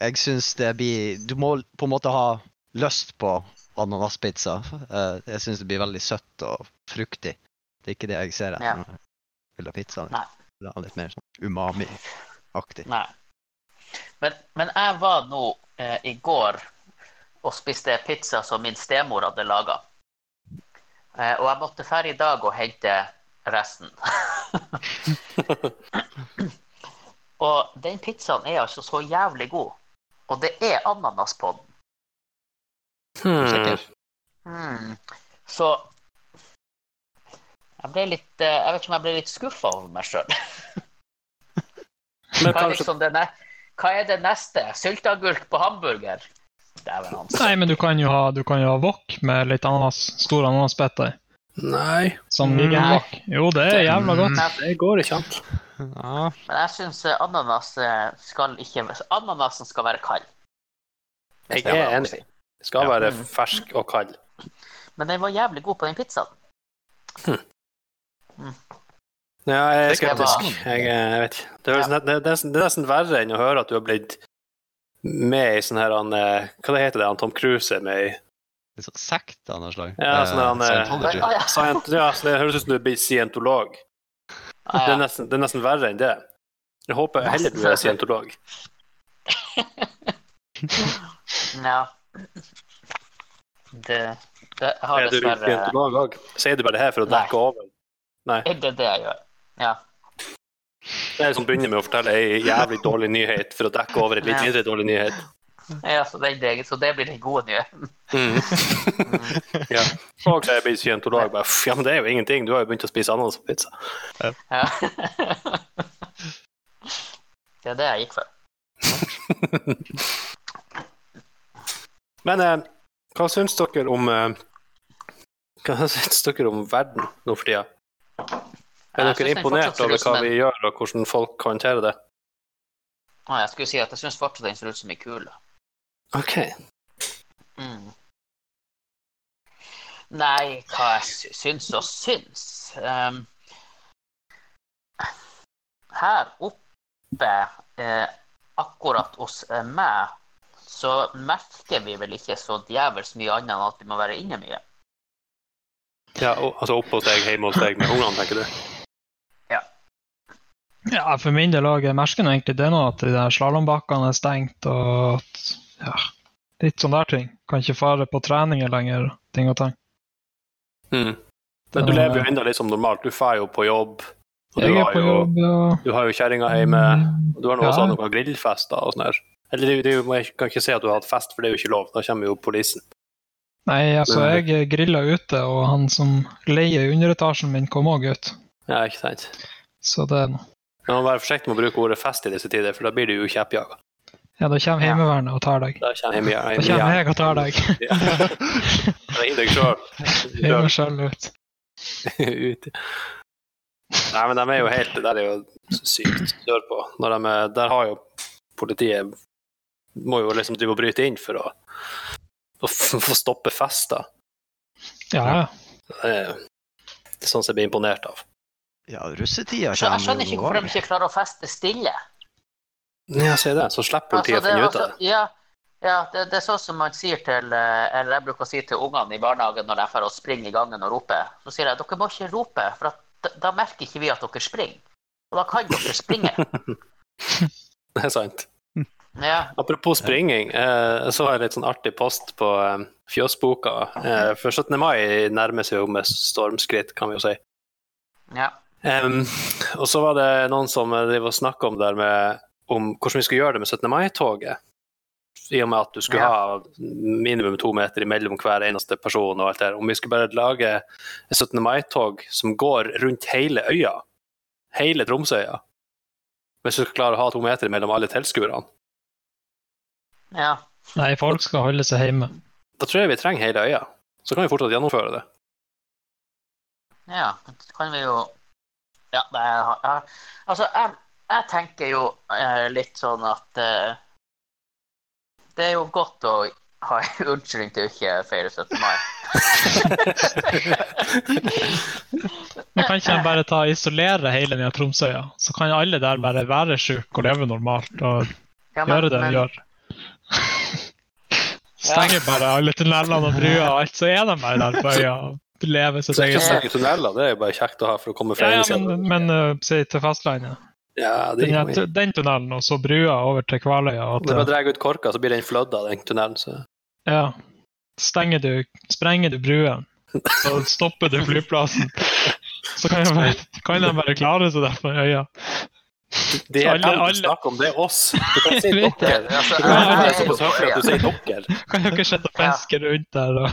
[SPEAKER 4] Jeg syns det blir Du må på en måte ha lyst på ananaspizza. Eh, Jeg syns det blir veldig søtt og fruktig. Det er ikke det jeg
[SPEAKER 2] Ja.
[SPEAKER 4] ser etter når jeg vil ha pizza.
[SPEAKER 2] Nei.
[SPEAKER 4] Jeg vil ha Litt mer sånn umami-aktig.
[SPEAKER 2] Nei. Men, men jeg var nå eh, i går og spiste pizza som min stemor hadde laga. Eh, og jeg måtte dra i dag og hente resten. og den pizzaen er altså så jævlig god. Og det er ananas på den.
[SPEAKER 1] Hmm.
[SPEAKER 4] Sikkert.
[SPEAKER 2] Hmm. Så jeg ble litt eh, Jeg vet ikke om jeg ble litt skuffa over meg sjøl.
[SPEAKER 1] Hmm, Men
[SPEAKER 2] Hva, er
[SPEAKER 1] kanskje
[SPEAKER 2] liksom det ne- hva er det neste? Sylteagurk på hamburger? Dæven hans.
[SPEAKER 3] Nei, men du kan jo ha, du kan jo ha wok med litt ananas, stor ananasbiter.
[SPEAKER 1] Nei,
[SPEAKER 3] Som vegan
[SPEAKER 2] Nei.
[SPEAKER 3] wok. Jo, det er jævla godt.
[SPEAKER 1] det går ikke an.
[SPEAKER 4] Mm. Ja.
[SPEAKER 2] Men jeg syns ananas eh, skal ikke Ananasen skal være kald.
[SPEAKER 1] Jeg
[SPEAKER 2] Det var
[SPEAKER 1] er
[SPEAKER 2] å si.
[SPEAKER 1] enig. Det skal
[SPEAKER 4] Ja.
[SPEAKER 1] være fersk og kald.
[SPEAKER 2] Men den var jævlig god på den pizzaen.
[SPEAKER 1] Ja, jeg er
[SPEAKER 4] Det kan
[SPEAKER 1] skeptisk.
[SPEAKER 2] være.
[SPEAKER 1] Jeg, eh, jeg vet ikke. Det, høres net- det, er nesten- det er nesten verre enn å høre at du har blitt med i sånn her han, eh, Hva det heter det han Tom Cruise er med i?
[SPEAKER 4] Litt sånn sekt av noe slag.
[SPEAKER 1] Ja,
[SPEAKER 4] Eh,
[SPEAKER 1] sånn han, eh,
[SPEAKER 2] Men,
[SPEAKER 4] Scientology.
[SPEAKER 2] ah, ja.
[SPEAKER 1] Scient, ja, så det høres ut som du er blitt scientolog.
[SPEAKER 2] Ah,
[SPEAKER 1] Det er
[SPEAKER 2] ja.
[SPEAKER 1] nesten, det er nesten verre enn det. Jeg håper heller du er scientolog.
[SPEAKER 2] ja. Det, det jeg har
[SPEAKER 1] Er du
[SPEAKER 2] dessverre
[SPEAKER 1] scientolog òg? Sier du bare det her for å
[SPEAKER 2] Nei.
[SPEAKER 1] dekke over?
[SPEAKER 2] Er det det jeg gjør? Ja.
[SPEAKER 1] Det er som begynner med å fortelle ei jævlig dårlig nyhet for å dekke over en litt
[SPEAKER 2] Ja.
[SPEAKER 1] mindre dårlig nyhet.
[SPEAKER 2] ja så, den, delen- så det blir den gode nyheten.
[SPEAKER 1] Mm.
[SPEAKER 2] Mm.
[SPEAKER 1] Ja. Og så er jeg blitt scientolog. Bare, «Pff, ja, men det er jo ingenting, du har jo begynt å spise ananas på pizza.
[SPEAKER 2] Ja. det er det jeg gikk for.
[SPEAKER 1] Men eh, hva syns dere om eh, Hva syns dere om verden nå for tida? Er dere
[SPEAKER 2] Jeg synes den
[SPEAKER 1] imponert over
[SPEAKER 2] fortsatt ser ut som
[SPEAKER 1] hva
[SPEAKER 2] en-
[SPEAKER 1] vi gjør, og hvordan folk håndterer det?
[SPEAKER 2] Å, Jeg skulle si at jeg syns fortsatt den ser ut som ei kule.
[SPEAKER 1] OK.
[SPEAKER 2] Mm. Nei, hva jeg sy- syns og syns Ehm, Her oppe, eh, akkurat hos eh, meg, så merker vi vel ikke så djevelsk mye annet enn at vi må være inne mye.
[SPEAKER 1] Ja, og, altså opp hos deg, hjemme hos deg med ungene, tenker du?
[SPEAKER 3] Ja, for min del òg. Jeg merker nå egentlig det nå, at de der slalåmbakkene er stengt, og at ja, litt sånne der ting. Kan ikke fare på treninger lenger, ting og tang.
[SPEAKER 1] Mm. Men du lever jo ennå litt som normalt. Du drar jo på jobb. Og du
[SPEAKER 3] Jeg er
[SPEAKER 1] har
[SPEAKER 3] på
[SPEAKER 1] jo,
[SPEAKER 3] jobb, ja.
[SPEAKER 1] du har jo kjerringa hjemme. Og Du har nå også
[SPEAKER 3] Ja.
[SPEAKER 1] hatt noen grillfester og sånn her. Eller det, er jo- det, er jo- jeg kan ikke si at du har hatt fest, for det er jo ikke lov. Da kommer jo politiet.
[SPEAKER 3] Nei, altså, jeg grilla ute, og han som leier underetasjen min, kom òg ut.
[SPEAKER 1] Ja, ikke sant.
[SPEAKER 3] Så det er nå.
[SPEAKER 1] Men man må være forsiktig med å bruke ordet fest i disse tider, for da blir du jo kjeppjaga.
[SPEAKER 3] Ja, da kommer
[SPEAKER 2] Ja.
[SPEAKER 3] Heimevernet og tar deg.
[SPEAKER 1] Da kommer jeg
[SPEAKER 3] Da kommer jeg og tar deg.
[SPEAKER 1] Ring deg sjøl.
[SPEAKER 3] Jeg må selv ut.
[SPEAKER 1] Ut. Nei, men de er jo helt Det der er jo sykt sørpå. Når de er, der har jo politiet Må jo liksom drive og bryte inn for å, å f- få stoppe fester.
[SPEAKER 3] Ja, ja.
[SPEAKER 1] Det er det er sånn som jeg blir imponert av.
[SPEAKER 4] Ja, russetida
[SPEAKER 2] Så jeg
[SPEAKER 4] kommer
[SPEAKER 2] skjønner ikke hvorfor de ikke klarer å feste stille.
[SPEAKER 1] Ja, si det. Så slipper
[SPEAKER 2] Altså,
[SPEAKER 1] politiet å
[SPEAKER 2] det, er
[SPEAKER 1] finne ut av
[SPEAKER 2] altså-
[SPEAKER 1] det.
[SPEAKER 2] ja, ja det, det er sånn som man sier til eh, Eller jeg bruker å si til ungene i barnehagen når de får å springe i gangen og rope. Så sier jeg dere må ikke rope, for at, da, da merker ikke vi at dere springer. Og da kan dere springe.
[SPEAKER 1] Det er sant.
[SPEAKER 2] Ja,
[SPEAKER 1] Apropos springing, eh, så har jeg litt sånn artig post på eh, Fjøsboka. Eh, for 17. mai nærmer seg jo med stormskritt, kan vi jo si.
[SPEAKER 2] ja.
[SPEAKER 1] Em, og så var det noen som eh, driver og snakka om, der med- om hvordan vi skulle gjøre det med 17. mai-toget. I og med at du skulle
[SPEAKER 2] Ja.
[SPEAKER 1] ha minimum to meter imellom hver eneste person. og alt det der. Om vi skulle bare lage et 17. mai-tog som går rundt hele øya, hele Tromsøya Hvis du skal klare å ha to meter mellom alle tilskuerne,
[SPEAKER 2] ja.
[SPEAKER 3] Nei, folk skal holde seg hjemme.
[SPEAKER 1] da tror jeg vi trenger hele øya. Så kan vi fortsatt gjennomføre det.
[SPEAKER 2] Ja, så kan vi jo Ja, det er, ja. Altså, jeg, jeg tenker jo eh, litt sånn at eh, Det er jo godt å ha en unnskyldning til å ikke feire 17. mai.
[SPEAKER 3] Men kan ikke de bare ta og isolere hele den Tromsøya? Så kan alle der bare være sjuke og leve normalt og
[SPEAKER 2] Ja,
[SPEAKER 3] gjøre det de gjør. Stenger bare alle tunnelene og bruer og alt, så er de bare der på øya og lever sitt
[SPEAKER 1] Så ikke
[SPEAKER 3] eget liv.
[SPEAKER 1] stenge tunneler, det er jo bare kjekt å ha for å komme
[SPEAKER 3] Ja,
[SPEAKER 1] flere
[SPEAKER 3] ja, men, men eh, si til fastlandet.
[SPEAKER 1] ja, det,
[SPEAKER 3] Den,
[SPEAKER 1] det,
[SPEAKER 3] den tunnelen, og så brua over til Kvaløya. Og
[SPEAKER 1] bare
[SPEAKER 3] til,
[SPEAKER 1] drar ut korka, så blir den flødda, den tunnelen. Så.
[SPEAKER 3] ja, stenger du, sprenger du brua, så stopper du flyplassen. Så kan de bare, kan de bare klare seg der på øya.
[SPEAKER 1] De er
[SPEAKER 3] Så alle-
[SPEAKER 1] alle,
[SPEAKER 3] alle-
[SPEAKER 1] snakker om det er oss. Du kan si
[SPEAKER 3] Jeg vet
[SPEAKER 1] dere.
[SPEAKER 2] det. Altså,
[SPEAKER 1] Du kan ikke være
[SPEAKER 2] jeg-
[SPEAKER 1] såpass høflig at du sier dere.
[SPEAKER 3] Kan dere sitte og fiske rundt der? Og,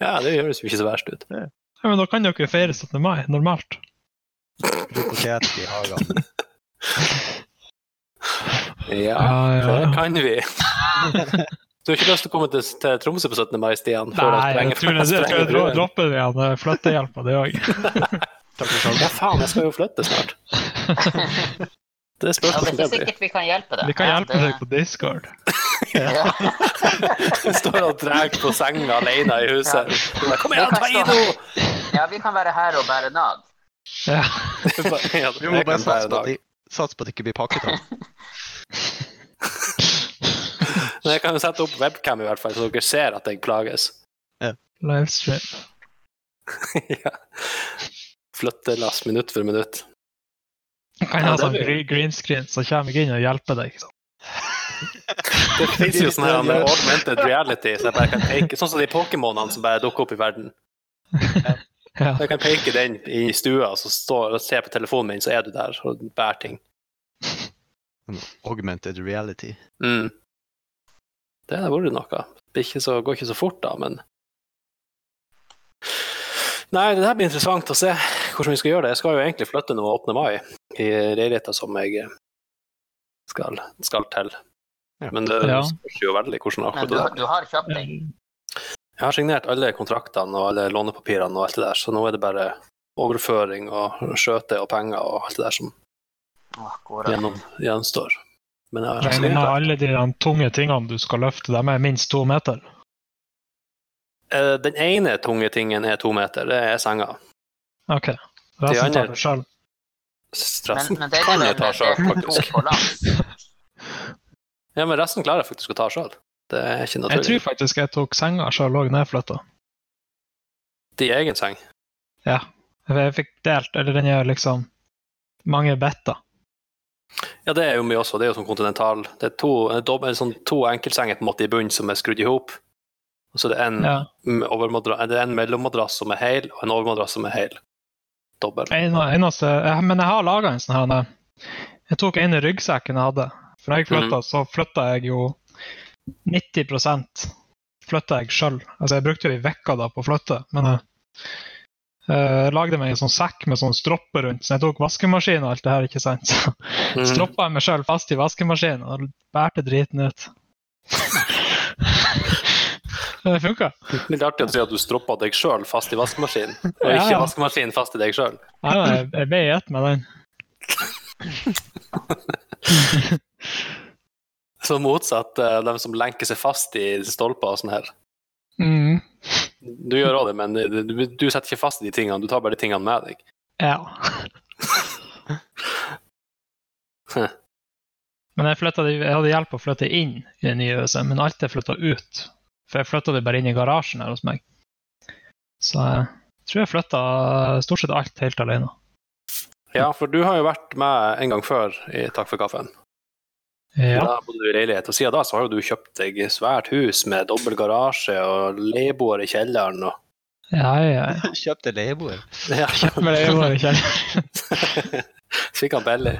[SPEAKER 1] Ja, det høres jo ikke så verst ut.
[SPEAKER 3] ja, men da kan dere feire 17. mai normalt.
[SPEAKER 4] Potet i hagen.
[SPEAKER 1] Ja,
[SPEAKER 3] Ja, ja,
[SPEAKER 1] det
[SPEAKER 3] ja.
[SPEAKER 1] kan vi. Du har ikke lyst til å komme til, til Tromsø på 17. mai, Stian? før
[SPEAKER 3] Nei, jeg
[SPEAKER 1] sprenger-
[SPEAKER 3] tror jeg, jeg, tror jeg dro-
[SPEAKER 1] sprenger brua?
[SPEAKER 3] dropper det igjen. Flyttehjelpa, det òg.
[SPEAKER 1] Ja, faen, jeg skal jo flytte snart. Det spørs
[SPEAKER 2] Ja, det
[SPEAKER 1] hvordan det
[SPEAKER 2] er ikke
[SPEAKER 1] blir.
[SPEAKER 2] sikkert vi kan hjelpe deg.
[SPEAKER 3] Vi kan
[SPEAKER 2] Ja,
[SPEAKER 3] hjelpe deg på Discord.
[SPEAKER 2] Ja.
[SPEAKER 1] Du står og drar på senga alene i huset. Bare, Kom igjen, ta i nå!
[SPEAKER 2] ja, vi kan være her og bære nag.
[SPEAKER 3] Ja.
[SPEAKER 1] Ja,
[SPEAKER 4] Vi må
[SPEAKER 1] det
[SPEAKER 4] bare
[SPEAKER 1] kan være
[SPEAKER 4] satse
[SPEAKER 1] en
[SPEAKER 4] på at
[SPEAKER 1] dag.
[SPEAKER 4] de- satse på at det ikke blir pakket opp.
[SPEAKER 1] Men jeg kan jo sette opp webcam, i hvert fall, så dere ser at jeg plages.
[SPEAKER 3] Livestream.
[SPEAKER 1] ja. Flyttelass minutt for minutt.
[SPEAKER 3] Kan
[SPEAKER 1] Ja,
[SPEAKER 3] ha
[SPEAKER 1] det
[SPEAKER 3] sånn
[SPEAKER 1] blir-
[SPEAKER 3] gre- green screen, så kommer jeg inn og hjelper deg. ikke sant?
[SPEAKER 1] Det fins jo sånn her med augmented reality, så jeg bare kan peke, sånn som de Pokémonene som bare dukker opp i verden.
[SPEAKER 3] Ja.
[SPEAKER 1] Så jeg kan peke den i stua, og så står og ser på telefonen min, så er du der og bærer ting.
[SPEAKER 4] Augmented reality.
[SPEAKER 1] Mm. Det hadde vært noe. Det er ikke så, går ikke så fort, da, men Nei, det der blir interessant å se hvordan vi skal gjøre det. Jeg skal jo egentlig flytte nå 8. mai, i leiligheta som jeg skal, skal til.
[SPEAKER 4] Ja.
[SPEAKER 1] Men det
[SPEAKER 3] Ja.
[SPEAKER 1] spørs jo veldig hvordan
[SPEAKER 2] Men
[SPEAKER 1] akkurat
[SPEAKER 2] du,
[SPEAKER 1] det
[SPEAKER 2] du har kjøpt deg.
[SPEAKER 3] Ja,
[SPEAKER 1] Jeg har signert alle kontraktene og alle lånepapirene og alt det der, så nå er det bare overføring og skjøte og penger og alt det der som
[SPEAKER 2] Akkurat.
[SPEAKER 1] gjennom, gjenstår. Men jeg har
[SPEAKER 3] Men
[SPEAKER 1] signert det.
[SPEAKER 3] alle de der tunge tingene du skal løfte, de er minst to meter.
[SPEAKER 1] Eh, Den ene tunge tingen er to meter, det er senga.
[SPEAKER 3] OK. Resten
[SPEAKER 1] andre-
[SPEAKER 3] tar du selv.
[SPEAKER 2] Men,
[SPEAKER 1] Resten
[SPEAKER 2] men det er
[SPEAKER 1] kan
[SPEAKER 2] vel
[SPEAKER 1] jeg ta
[SPEAKER 2] det
[SPEAKER 1] sjøl,
[SPEAKER 2] er to
[SPEAKER 1] faktisk.
[SPEAKER 2] på langs.
[SPEAKER 1] Ja, men resten klarer jeg faktisk å ta sjøl. Det er ikke
[SPEAKER 3] Jeg tror
[SPEAKER 1] naturlig.
[SPEAKER 3] faktisk jeg tok senga sjøl òg når jeg flytta.
[SPEAKER 1] De er egen seng.
[SPEAKER 3] Jeg fikk delt, eller den er liksom mange better.
[SPEAKER 1] Ja, det er jo mye også. Det er jo sånn kontinental. Det er to, en dobb- en sånn, to enkeltsenger på en måte i bunnen som er skrudd i hop. Og så er det en,
[SPEAKER 3] Ja.
[SPEAKER 1] mm, overmadra- det er en mellommadrass som er hel, og en overmadrass som er hel. Dobbel.
[SPEAKER 3] En, eneste, jeg, men jeg har laga en sånn her Jeg tok en i ryggsekken jeg hadde. For når jeg flytta, så flytta jeg jo 90 flytta jeg sjøl. Altså, jeg brukte jo ei uke da på å flytte, men jeg eh, lagde meg en sånn sekk med sånn stropper rundt, så jeg tok vaskemaskin og alt det her, ikke sant. Så
[SPEAKER 1] Mhm.
[SPEAKER 3] stroppa jeg meg sjøl fast i vaskemaskinen og bærte driten ut. Men det funka.
[SPEAKER 1] Litt artig å si at du stroppa deg sjøl fast i vaskemaskinen, og
[SPEAKER 3] Ja,
[SPEAKER 1] ikke
[SPEAKER 3] ja.
[SPEAKER 1] vaskemaskinen fast i deg sjøl.
[SPEAKER 3] Nei, nei, jeg- jeg ble i ett med den.
[SPEAKER 1] Så motsatt uh, dem som lenker seg fast i stolper og sånn her.
[SPEAKER 3] Mm,
[SPEAKER 1] Du gjør òg det, men du, du setter ikke fast i de tingene, du tar bare de tingene med deg.
[SPEAKER 3] ja.
[SPEAKER 1] Hm.
[SPEAKER 3] Men jeg, flyttet, de- jeg hadde hjelp å flytte inn i det nye huset, men alt er flytta ut. For jeg flytta det bare inn i garasjen her hos meg. Så jeg tror jeg flytta stort sett alt helt alene.
[SPEAKER 1] Ja, for du har jo vært med en gang før i Takk for kaffen.
[SPEAKER 3] Ja.
[SPEAKER 1] Da bodde du i leilighet, og siden da så har jo du kjøpt deg svært hus med dobbel garasje og leieboer i kjelleren og
[SPEAKER 3] Ja, ja, ja.
[SPEAKER 4] Kjøpte leieboer.
[SPEAKER 1] ja.
[SPEAKER 3] Men det var ikke helt
[SPEAKER 1] Fikk han billig.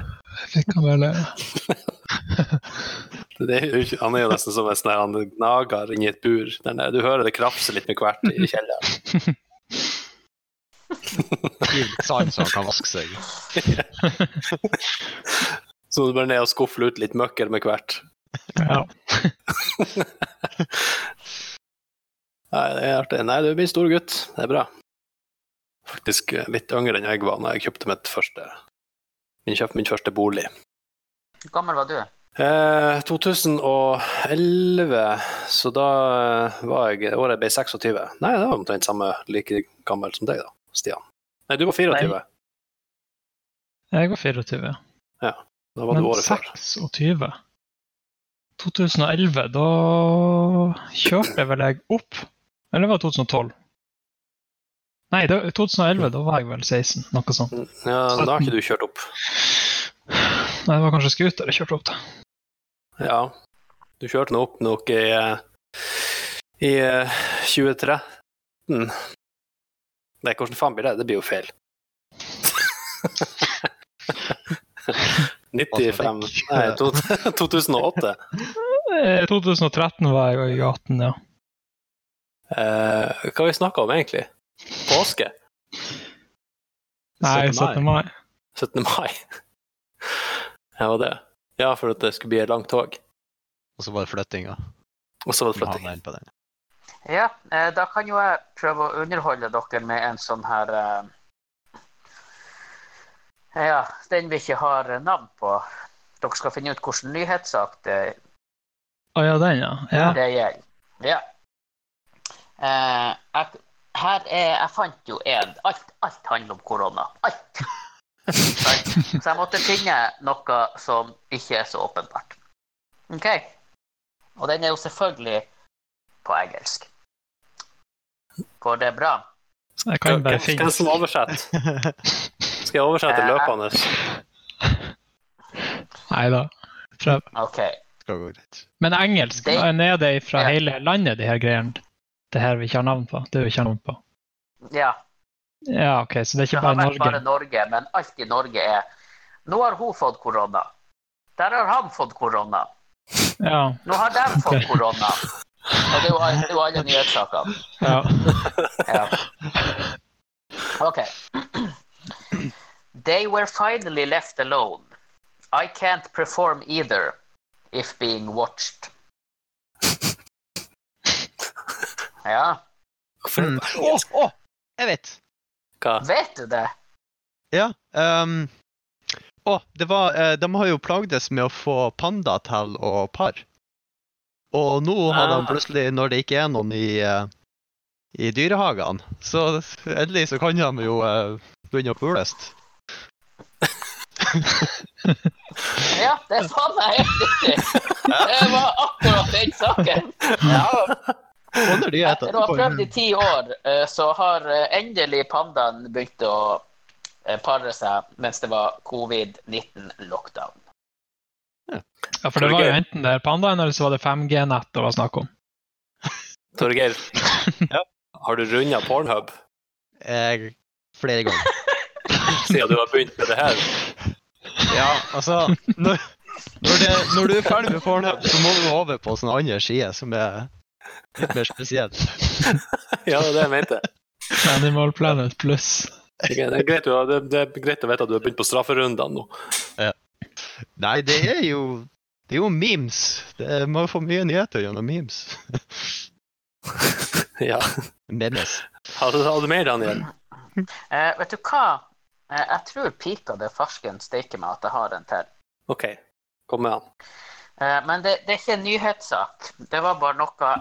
[SPEAKER 3] Fikk han vel
[SPEAKER 1] Det er jo ikke- Han er jo nesten som en sånn her, han gnager inni et bur. Den der, du hører det krafse litt med hvert i kjelleren.
[SPEAKER 4] Giv litt sand så han kan vaske seg.
[SPEAKER 1] Så du bare ned og skuffer ut litt møkker med hvert.
[SPEAKER 3] Ja.
[SPEAKER 1] Nei, det er artig. Nei, du blir stor gutt. Det er bra. faktisk eh, litt yngre enn jeg var når jeg kjøpte mitt første, min, kjøpt min første bolig.
[SPEAKER 2] Hvor gammel var du?
[SPEAKER 1] Eh, 2011, så da eh, var jeg året jeg ble 26. Nei, det var omtrent samme like gammel som deg, da, Stian. Nei, du var 24.
[SPEAKER 3] Jeg var 24.
[SPEAKER 1] Da var
[SPEAKER 3] Men
[SPEAKER 1] du året før.
[SPEAKER 3] 26 2011, da kjørte vel jeg opp Eller var det 2012? Nei, det, 2011, da var jeg vel 16, noe sånt.
[SPEAKER 1] Ja, da har ikke du kjørt opp.
[SPEAKER 3] Nei, det var kanskje scooter jeg kjørte opp til.
[SPEAKER 1] Ja. Du kjørte nå opp nok i, eh, i eh, 2013. Nei, hvordan faen blir det? Det blir jo feil. 95 Nei, to- 2008.
[SPEAKER 3] Eh, 2013 var jeg i 18, ja.
[SPEAKER 1] Eh, hva har vi snakka om, egentlig? Påske?
[SPEAKER 3] Nei,
[SPEAKER 4] 17.
[SPEAKER 3] 17. mai.
[SPEAKER 1] 17. mai? Ja, var det. Ja, for at det skulle bli et langt tog.
[SPEAKER 4] Og så var det flyttinga.
[SPEAKER 1] Og så var det
[SPEAKER 4] Må ha
[SPEAKER 1] flytting.
[SPEAKER 4] den på den.
[SPEAKER 2] Ja, eh, da kan jo jeg prøve å underholde dere med en sånn her eh, Ja, den vi ikke har navn på. Dere skal finne ut hvilken nyhetssak det,
[SPEAKER 3] Å ja, den, ja. ja.
[SPEAKER 2] det gjelder. Ja. Eh, jeg, her er Jeg fant jo en. Alt, alt handler om korona. Alt. Sant? Så jeg måtte finne noe som ikke er så åpenbart. OK? Og den er jo selvfølgelig på engelsk. Går det bra?
[SPEAKER 3] Jeg
[SPEAKER 1] Hva-
[SPEAKER 3] kan
[SPEAKER 1] Hvem
[SPEAKER 3] bare
[SPEAKER 1] hvem
[SPEAKER 3] finne
[SPEAKER 1] som oversetter? Skal jeg oversette
[SPEAKER 2] Eh,
[SPEAKER 1] løpende?
[SPEAKER 3] Nei da. Prøv.
[SPEAKER 2] OK.
[SPEAKER 4] Skal gå greit.
[SPEAKER 3] Men engelsk
[SPEAKER 2] Det-
[SPEAKER 3] da er nede fra
[SPEAKER 2] Ja.
[SPEAKER 3] hele landet, de her greiene. Det her vi ikke har navn på. Det vi ikke har navn på.
[SPEAKER 2] Ja.
[SPEAKER 3] Ja, OK, så det er
[SPEAKER 2] Det har
[SPEAKER 3] ikke bare
[SPEAKER 2] vært bare
[SPEAKER 3] Norge.
[SPEAKER 2] Norge, men alt i Norge er Nå har hun fått korona. Der har han fått korona.
[SPEAKER 3] Ja.
[SPEAKER 2] Nå har de fått
[SPEAKER 3] Ok.
[SPEAKER 2] korona. Og det er jo alle, det er jo alle nyhetssakene.
[SPEAKER 3] ja.
[SPEAKER 2] Ja. OK. They were finally left alone. I can't perform either if being watched. Ja,
[SPEAKER 1] Hvorfor er det på
[SPEAKER 4] Å,
[SPEAKER 1] engelsk?
[SPEAKER 4] å! Mm. Jeg vet!
[SPEAKER 1] Hva?
[SPEAKER 2] vet du det?
[SPEAKER 4] Ja. ehm, å, det var eh, De har jo plagdes med å få panda til å pare. Og nå har de
[SPEAKER 1] Ah.
[SPEAKER 4] plutselig, når det ikke er noen i, eh, i dyrehagene, så endelig så kan de jo eh, begynne å pules.
[SPEAKER 2] Ja, det er faen meg helt riktig. Det var akkurat den saken. Ja,
[SPEAKER 4] Sånne
[SPEAKER 2] etter
[SPEAKER 4] nyheter.
[SPEAKER 2] å ha prøvd i ti år, eh, så har eh, endelig pandaen begynt å eh, pare seg mens det var covid-19-lockdown.
[SPEAKER 3] ja, for det var jo enten det her pandaen, eller så var det 5G-nett det var snakk om.
[SPEAKER 1] Torgeir, har du runda Pornhub
[SPEAKER 4] Eh, flere ganger.
[SPEAKER 1] siden du har begynt med det her?
[SPEAKER 4] Ja, altså Når, når, det, når du er ferdig med Pornhub, så må du over på sånn andre side som er litt mer spesiell.
[SPEAKER 1] Ja, det er det jeg mente.
[SPEAKER 3] Animal Planet pluss.
[SPEAKER 1] Det er greit, du har- det det er greit å vite at du har begynt på strafferundene nå.
[SPEAKER 4] Nei, det er jo Det er jo memes. Det er, man får mye nyheter gjennom memes.
[SPEAKER 1] Ja.
[SPEAKER 4] Memes.
[SPEAKER 1] Har du, har du mer, Daniel?
[SPEAKER 2] Eh, vet du hva? Eh, jeg tror pika det farsken steker meg at jeg har en til.
[SPEAKER 1] OK, kom med han.
[SPEAKER 2] Eh, men det, det er ikke en nyhetssak. Det var bare noe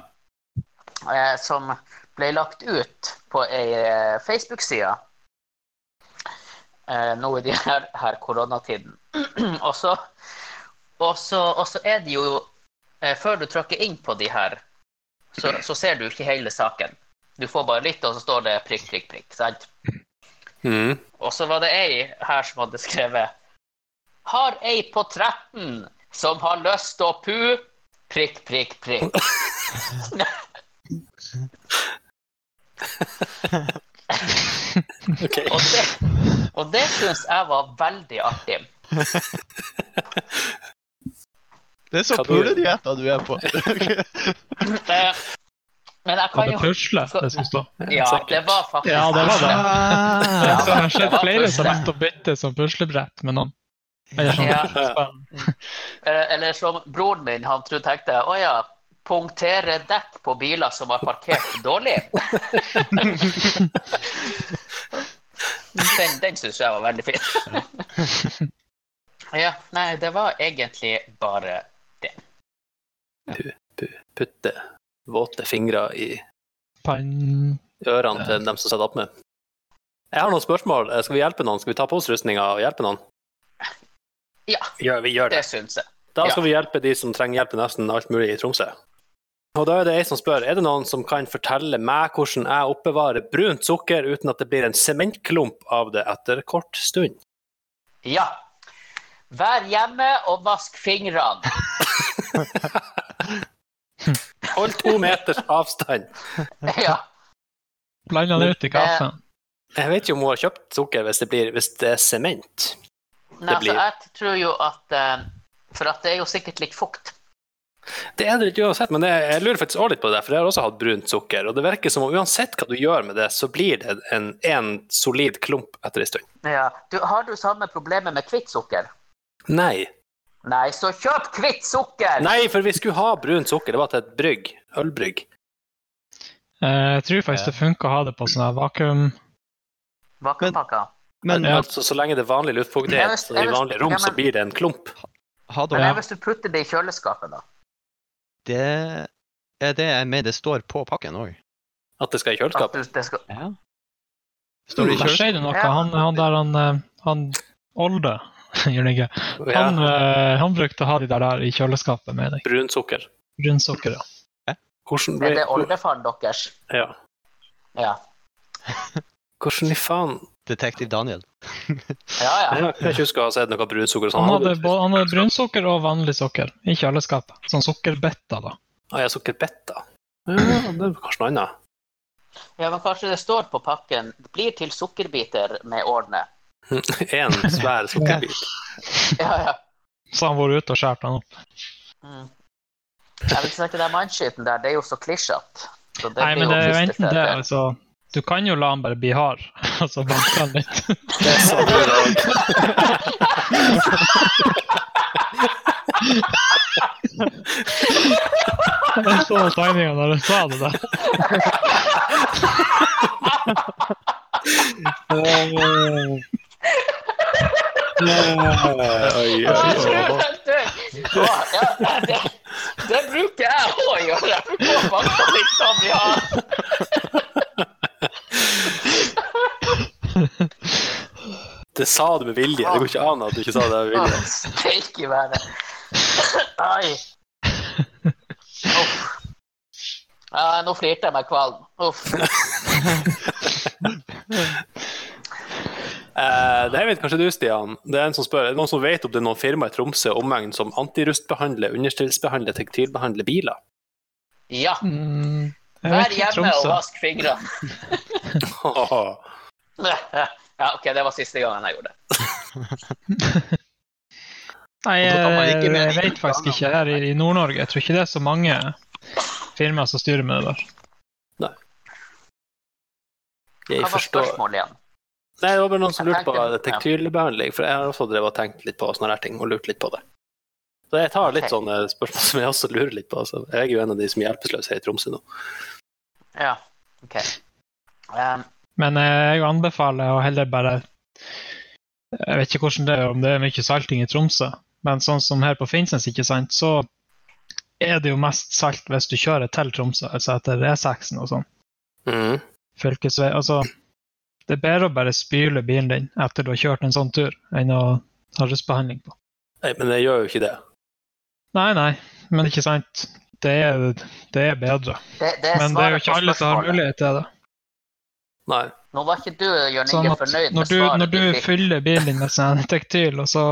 [SPEAKER 2] eh, som ble lagt ut på ei eh, Facebook-side eh, nå i de her, her koronatiden. og, så, og, så, og så er det jo eh, Før du trykker inn på de her, så, så ser du ikke hele saken. Du får bare litt, og så står det prikk, prikk, prikk. sant?
[SPEAKER 1] Mm.
[SPEAKER 2] Og så var det ei her som hadde skrevet Har ei på 13 som har lyst til å pu prikk, prikk, prikk.
[SPEAKER 1] OK.
[SPEAKER 2] Og det, og det syns jeg var veldig artig.
[SPEAKER 4] Det er så
[SPEAKER 1] Hva du-
[SPEAKER 4] pulenyheter du er på.
[SPEAKER 2] Eh, Men jeg
[SPEAKER 3] Var
[SPEAKER 2] kan
[SPEAKER 3] det
[SPEAKER 2] jo
[SPEAKER 3] pusle, det som står?
[SPEAKER 2] Ja, det var faktisk
[SPEAKER 3] Ja, det var det.
[SPEAKER 4] Ah.
[SPEAKER 3] Så det har
[SPEAKER 2] det
[SPEAKER 3] skjedd
[SPEAKER 2] var
[SPEAKER 3] flere
[SPEAKER 2] pusle.
[SPEAKER 3] som har begynt å bytte som puslebrett med noen. Eller sånn
[SPEAKER 2] Ja.
[SPEAKER 3] puslespill.
[SPEAKER 2] Eh, Eller som broren min, han trodde tenkte Å ja, punktere dekk på biler som har parkert dårlig. den, den syns jeg var veldig fin. ja, nei, det var egentlig bare
[SPEAKER 1] Putte våte fingre i
[SPEAKER 3] Pann.
[SPEAKER 1] ørene til dem som sitter opp med. Jeg har noen spørsmål. Eh, Skal vi hjelpe noen? Skal vi ta på oss rustninga og hjelpe noen?
[SPEAKER 2] Ja.
[SPEAKER 1] Gjør, vi gjør det.
[SPEAKER 2] Det syns jeg.
[SPEAKER 1] Da skal vi hjelpe de som trenger hjelp i nesten alt mulig i Tromsø. Og da er det ei som spør er det noen som kan fortelle meg hvordan jeg oppbevarer brunt sukker uten at det blir en sementklump av det etter kort stund.
[SPEAKER 2] Ja. Vær hjemme og vask fingrene.
[SPEAKER 1] Hold to meters avstand.
[SPEAKER 2] ja.
[SPEAKER 3] Blanda det ut i kaffen.
[SPEAKER 1] Jeg vet ikke om hun har kjøpt sukker hvis det, blir, hvis det er sement.
[SPEAKER 2] Nei, altså,
[SPEAKER 1] blir-
[SPEAKER 2] jeg tror jo at eh, For at det er jo sikkert litt fukt.
[SPEAKER 1] Det er det ikke uansett, men det, jeg lurer faktisk også litt på det, for jeg har også hatt brunt sukker. Og det virker som om uansett hva du gjør med det, så blir det en, en solid klump etter en stund.
[SPEAKER 2] Ja. Du, har du samme problemet med hvitt sukker?
[SPEAKER 1] Nei.
[SPEAKER 2] Nei, så kjøp hvitt sukker!
[SPEAKER 1] Nei, for vi skulle ha brunt sukker. Det var til et brygg. Ølbrygg.
[SPEAKER 3] Eh, Jeg tror faktisk det funker å ha det på sånn her vakuum.
[SPEAKER 2] Vakuumpakka.
[SPEAKER 4] Men
[SPEAKER 3] Ja.
[SPEAKER 1] Altså, så lenge det er vanlig
[SPEAKER 2] Ja,
[SPEAKER 1] luftfuktighet
[SPEAKER 2] hvis-
[SPEAKER 1] i vanlige rom,
[SPEAKER 2] ja,
[SPEAKER 1] så
[SPEAKER 2] men-
[SPEAKER 1] blir det en klump.
[SPEAKER 4] har
[SPEAKER 2] Men
[SPEAKER 4] dere
[SPEAKER 2] hvis du putter det i kjøleskapet, da?
[SPEAKER 4] Det er det jeg mener det står på pakken òg.
[SPEAKER 1] At det skal i
[SPEAKER 2] At
[SPEAKER 1] kjøleskap.
[SPEAKER 2] du, det skal...
[SPEAKER 4] Står det i
[SPEAKER 3] Der
[SPEAKER 4] kjøleskapet?
[SPEAKER 3] skjer det noe.
[SPEAKER 2] Ja.
[SPEAKER 3] Han, han der han, eh, han Olde, gjør det ikke?
[SPEAKER 1] Ja,
[SPEAKER 3] Han, eh, han brukte å ha de der, der i kjøleskapet, mener jeg.
[SPEAKER 1] brunt sukker.
[SPEAKER 3] Brunsukker, ja.
[SPEAKER 1] Hvordan,
[SPEAKER 2] Er det
[SPEAKER 1] ble-
[SPEAKER 2] oldefaren deres?
[SPEAKER 1] ja.
[SPEAKER 2] Ja.
[SPEAKER 1] Hvordan i faen
[SPEAKER 4] Detektiv Daniel.
[SPEAKER 2] Ja, ja.
[SPEAKER 1] Jeg kan ikke huske å ha sett noe brunt sukker og sånn.
[SPEAKER 3] Han hadde, både- han hadde brunsukker og vanlig sukker i kjøleskapet. Sånn sukkerbetter, da.
[SPEAKER 1] Ah, ja, sukkerbetta. Ja, det er kanskje noe annet.
[SPEAKER 2] ja, men kanskje det står på pakken 'blir til sukkerbiter med årene'.
[SPEAKER 1] En svær sukkerbit.
[SPEAKER 2] Ja, ja.
[SPEAKER 3] Så han vært ute og skåret den opp.
[SPEAKER 2] Mm. Jeg vil snakke den mannskiten der, det er jo så klisjete. Så det
[SPEAKER 3] Nei,
[SPEAKER 2] blir
[SPEAKER 3] men det er jo
[SPEAKER 2] trist i
[SPEAKER 3] enten det,
[SPEAKER 2] stedet.
[SPEAKER 3] altså Du kan jo la han bare bli hard, og så banke han litt.
[SPEAKER 1] Det er så bra.
[SPEAKER 3] Jeg så tegninga da du sa det der.
[SPEAKER 1] Oi,
[SPEAKER 2] Å,
[SPEAKER 1] oi, oi.
[SPEAKER 2] du- du- Å, ja, det, det bruker jeg òg å gjøre. Jeg bruker å banke litt sånn, ja.
[SPEAKER 1] Det sa du med vilje. Det går ikke an at du ikke sa det med vilje.
[SPEAKER 2] Steik i været. Ai. Uff. Ja, nå flirte jeg meg kvalm. Uff.
[SPEAKER 1] Eh, det her vet kanskje du, Stian. Det er en som spør, er det noen som vet om det er noen firma i Tromsø og omegn som antirustbehandler, understillsbehandler, tekstilbehandler biler?
[SPEAKER 2] Ja.
[SPEAKER 3] Mm, jeg
[SPEAKER 2] Vær
[SPEAKER 3] vet ikke,
[SPEAKER 2] hjemme og
[SPEAKER 3] Tromsø.
[SPEAKER 2] vask fingrene. Ja, OK, det var siste gangen jeg gjorde det.
[SPEAKER 3] Nei,
[SPEAKER 4] Og da kan man
[SPEAKER 3] jeg,
[SPEAKER 4] ikke mene
[SPEAKER 3] jeg vet faktisk ikke. Her i i Nord-Norge jeg tror ikke det er så mange firmaer som styrer med det der.
[SPEAKER 1] Jeg
[SPEAKER 2] Hva var
[SPEAKER 1] forstår.
[SPEAKER 2] spørsmålet igjen?
[SPEAKER 1] Nei, det var bare noen som lurte på
[SPEAKER 2] Jeg tenkte-
[SPEAKER 1] tekstilbehandling, for jeg har også drevet og tenkt litt på sånne her ting, og lurt litt på det. Så jeg tar litt
[SPEAKER 2] Ok.
[SPEAKER 1] sånne spørsmål som jeg også lurer litt på. Så jeg er jo en av de som er hjelpeløse her i Tromsø nå.
[SPEAKER 2] Ja, OK. Um,
[SPEAKER 3] Men eh, jeg anbefaler å heller bare Jeg vet ikke hvordan det er, om det er mye salting i Tromsø, men sånn som her på Finnsnes, ikke sant, så er det jo mest salt hvis du kjører til Tromsø, altså etter E6-en og sånn.
[SPEAKER 1] Mhm.
[SPEAKER 3] Fylkesvei Altså, det er bedre å bare spyle bilen din etter du har kjørt en sånn tur, enn å ha rustbehandling på.
[SPEAKER 1] Nei, men jeg gjør jo ikke det.
[SPEAKER 3] Nei, nei, men ikke sant. Det er, det er bedre.
[SPEAKER 2] det, det er
[SPEAKER 3] Men det er jo
[SPEAKER 2] svaret
[SPEAKER 3] ikke
[SPEAKER 2] på
[SPEAKER 3] alle som har
[SPEAKER 2] spørsmålet.
[SPEAKER 3] mulighet til det.
[SPEAKER 1] Nei.
[SPEAKER 2] Nå var ikke du Jørn
[SPEAKER 3] Sånn
[SPEAKER 2] Inge,
[SPEAKER 3] at
[SPEAKER 2] fornøyd
[SPEAKER 3] når
[SPEAKER 2] med
[SPEAKER 3] du, når
[SPEAKER 2] svaret
[SPEAKER 3] du
[SPEAKER 2] du fikk.
[SPEAKER 3] fyller bilen din med sånn tektyl, og så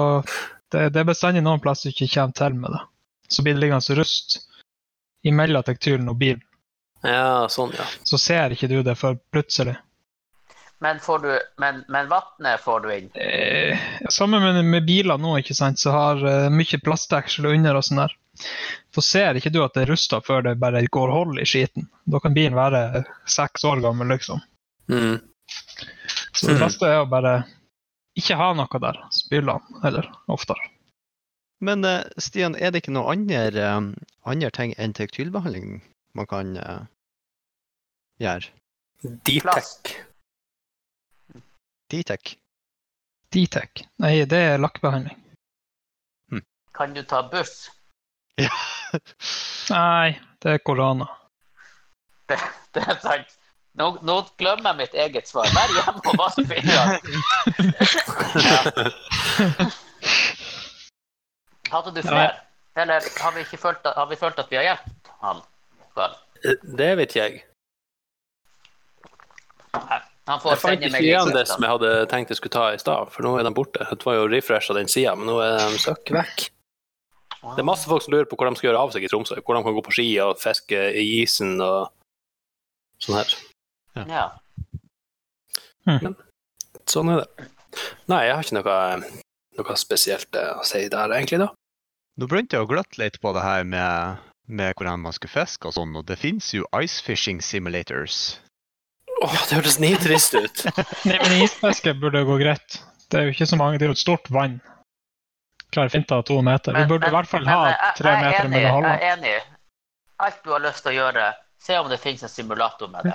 [SPEAKER 3] det, det er bestandig noen plass du ikke kommer til med det. Så blir det liggende rust imellom tektylen og bilen.
[SPEAKER 1] Ja, sånn, ja.
[SPEAKER 3] Så ser ikke du det før plutselig.
[SPEAKER 2] Men, får du, men, men vannet får du inn.
[SPEAKER 3] Eh, sammen med, med biler nå, ikke sant, så har eh, mye plastdeksel under og sånn der. Så ser ikke du at det er rusta før det bare går hold i skiten. Da kan bilen være seks år gammel, liksom.
[SPEAKER 1] Mhm.
[SPEAKER 3] Så det
[SPEAKER 1] Mm.
[SPEAKER 3] beste er å bare ikke ha noe der. Spyle den, eller oftere.
[SPEAKER 4] Men eh, Stian, er det ikke noe andre, eh, andre ting enn tektylbehandling man kan eh, gjøre?
[SPEAKER 1] Detect.
[SPEAKER 2] Plast.
[SPEAKER 4] Detec?
[SPEAKER 3] Ditec. Nei, det er lakkbehandling.
[SPEAKER 2] Kan du ta buss?
[SPEAKER 3] Nei, det er korona.
[SPEAKER 2] Det er sant. Nå, nå glemmer jeg mitt eget svar. Vær hjemme og vask fingrene. Hadde du flere? Eller har vi ikke følt at, har vi følt at vi har hjulpet han? Vel,
[SPEAKER 1] Eh, Det vet ikke jeg.
[SPEAKER 2] han får
[SPEAKER 1] Jeg fant
[SPEAKER 2] sende
[SPEAKER 1] ikke
[SPEAKER 2] meg
[SPEAKER 1] igjen
[SPEAKER 2] litt
[SPEAKER 1] det
[SPEAKER 2] ut,
[SPEAKER 1] som jeg hadde tenkt jeg skulle ta i stad, for nå er de borte. Det var jo refresh av den sida, men nå er de søkk vekk.
[SPEAKER 2] da.
[SPEAKER 1] Det er masse folk som lurer på hvor de skal gjøre av seg i Tromsø. Hvor de kan gå på ski og fiske i isen og sånn her.
[SPEAKER 2] Ja.
[SPEAKER 1] Sånn er det. Nei, jeg har ikke noe, noe spesielt eh, å si der, egentlig, da.
[SPEAKER 4] Nå begynte jeg å gløtte litt på det her med, med hvordan man skal fiske og sånn, og det fins jo ice fishing simulators.
[SPEAKER 1] Åh, det hørtes nitrist ut.
[SPEAKER 3] Nei, men isfiske burde gå greit. Det er jo ikke så mange, det er jo et stort vann. Klarer fint av to meter. Vi
[SPEAKER 2] Men-
[SPEAKER 3] burde i
[SPEAKER 2] men-
[SPEAKER 3] hvert fall
[SPEAKER 2] men
[SPEAKER 3] ha
[SPEAKER 2] jeg-
[SPEAKER 3] tre
[SPEAKER 2] jeg er
[SPEAKER 3] meter
[SPEAKER 2] enig,
[SPEAKER 3] mellom
[SPEAKER 2] Jeg
[SPEAKER 3] hallene.
[SPEAKER 2] er enig. Alt du har lyst til å gjøre, se om det finnes en simulator med det.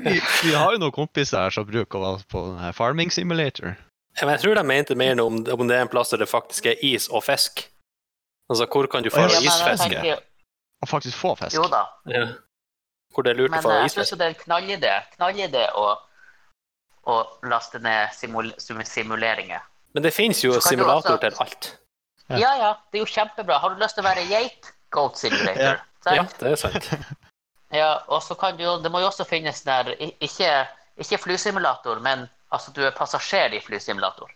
[SPEAKER 4] Vi, vi har jo noen kompiser her som bruker å være på den her farming simulator.
[SPEAKER 1] Ja, Men jeg tror de mente mer om, om det er en plass der det faktisk er is og fisk. Altså, hvor kan du få
[SPEAKER 4] Ja, men jeg
[SPEAKER 1] isfiske?
[SPEAKER 2] tenker,
[SPEAKER 4] Og faktisk få fisk.
[SPEAKER 2] jo da,
[SPEAKER 1] Ja. Hvor det er lurt
[SPEAKER 2] men
[SPEAKER 1] å få
[SPEAKER 2] eh, jeg syns
[SPEAKER 1] isfiske.
[SPEAKER 2] jo det er en knallidé knallidé å, å laste ned simul sim- simuleringer.
[SPEAKER 1] Men det fins jo
[SPEAKER 2] Så kan du
[SPEAKER 1] simulator
[SPEAKER 2] også-
[SPEAKER 1] til alt.
[SPEAKER 4] Ja.
[SPEAKER 2] Ja ja, det er jo kjempebra. Har du lyst til å være geit? Goat simulator. Sant?
[SPEAKER 1] Ja, det er sant.
[SPEAKER 2] Ja, og så kan du jo Det må jo også finnes der i- Ikke, ikke flysimulator, men altså du er passasjer i flysimulator.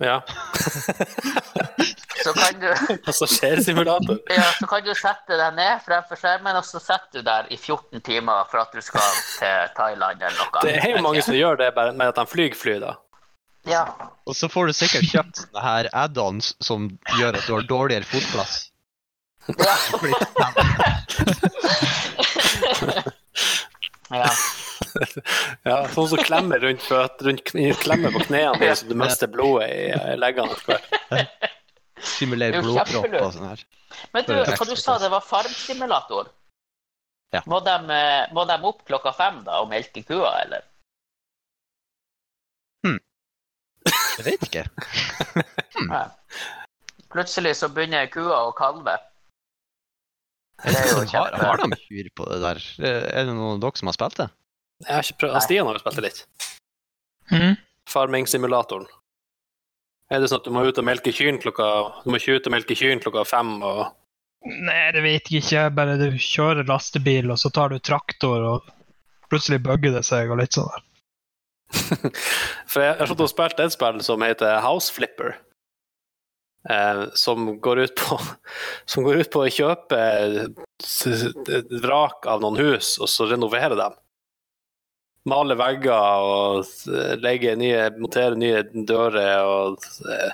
[SPEAKER 1] Ja.
[SPEAKER 2] Så kan du
[SPEAKER 1] Passasjersimulator.
[SPEAKER 2] Ja, så kan du sette deg ned fremfor skjermen, og så setter du der i 14 timer for at du skal til Thailand eller noe.
[SPEAKER 1] Det er jo mange som gjør det bare med at de flyr fly, da.
[SPEAKER 2] Ja,
[SPEAKER 4] Og så får du sikkert kjøpt sånne her add-ons som gjør at du har dårligere fotplass.
[SPEAKER 2] ja. ja.
[SPEAKER 1] Ja, sånn som klemmer rundt føt, rundt kn- klemmer på knærne dine så du mister blodet i i leggene. etter hvert.
[SPEAKER 4] Simulere
[SPEAKER 2] Det er jo
[SPEAKER 4] blodpropp og
[SPEAKER 2] kjempelurt.
[SPEAKER 4] sånn her.
[SPEAKER 2] Men du, hva du sa det var farmsimulator?
[SPEAKER 4] Ja.
[SPEAKER 2] Må de, eh, må de opp klokka fem da og melke kua, eller?
[SPEAKER 4] Jeg vet ikke.
[SPEAKER 2] Plutselig så begynner kua å kalve. Det er jo
[SPEAKER 4] Har, har
[SPEAKER 2] kjempe...
[SPEAKER 4] de kyr på det der? Er det noen av dere som har spilt det?
[SPEAKER 1] Jeg har ikke prøvd. Stian har jo spilt det litt.
[SPEAKER 3] Mhm.
[SPEAKER 1] Farming-simulatoren. Er det sånn at du må ut og melke kyrne klokka Du må ikke ut og melke kyrne klokka fem og
[SPEAKER 3] Nei, det vet jeg ikke. Bare du kjører lastebil, og så tar du traktor, og plutselig bugger det seg og litt sånn der.
[SPEAKER 1] For jeg jeg har satt og spilt et spill som heter House Flipper. Eh, som, går ut på, som går ut på å kjøpe s- s- et vrak av noen hus, og så renovere dem. Male vegger og s- legge nye, montere nye dører og eh,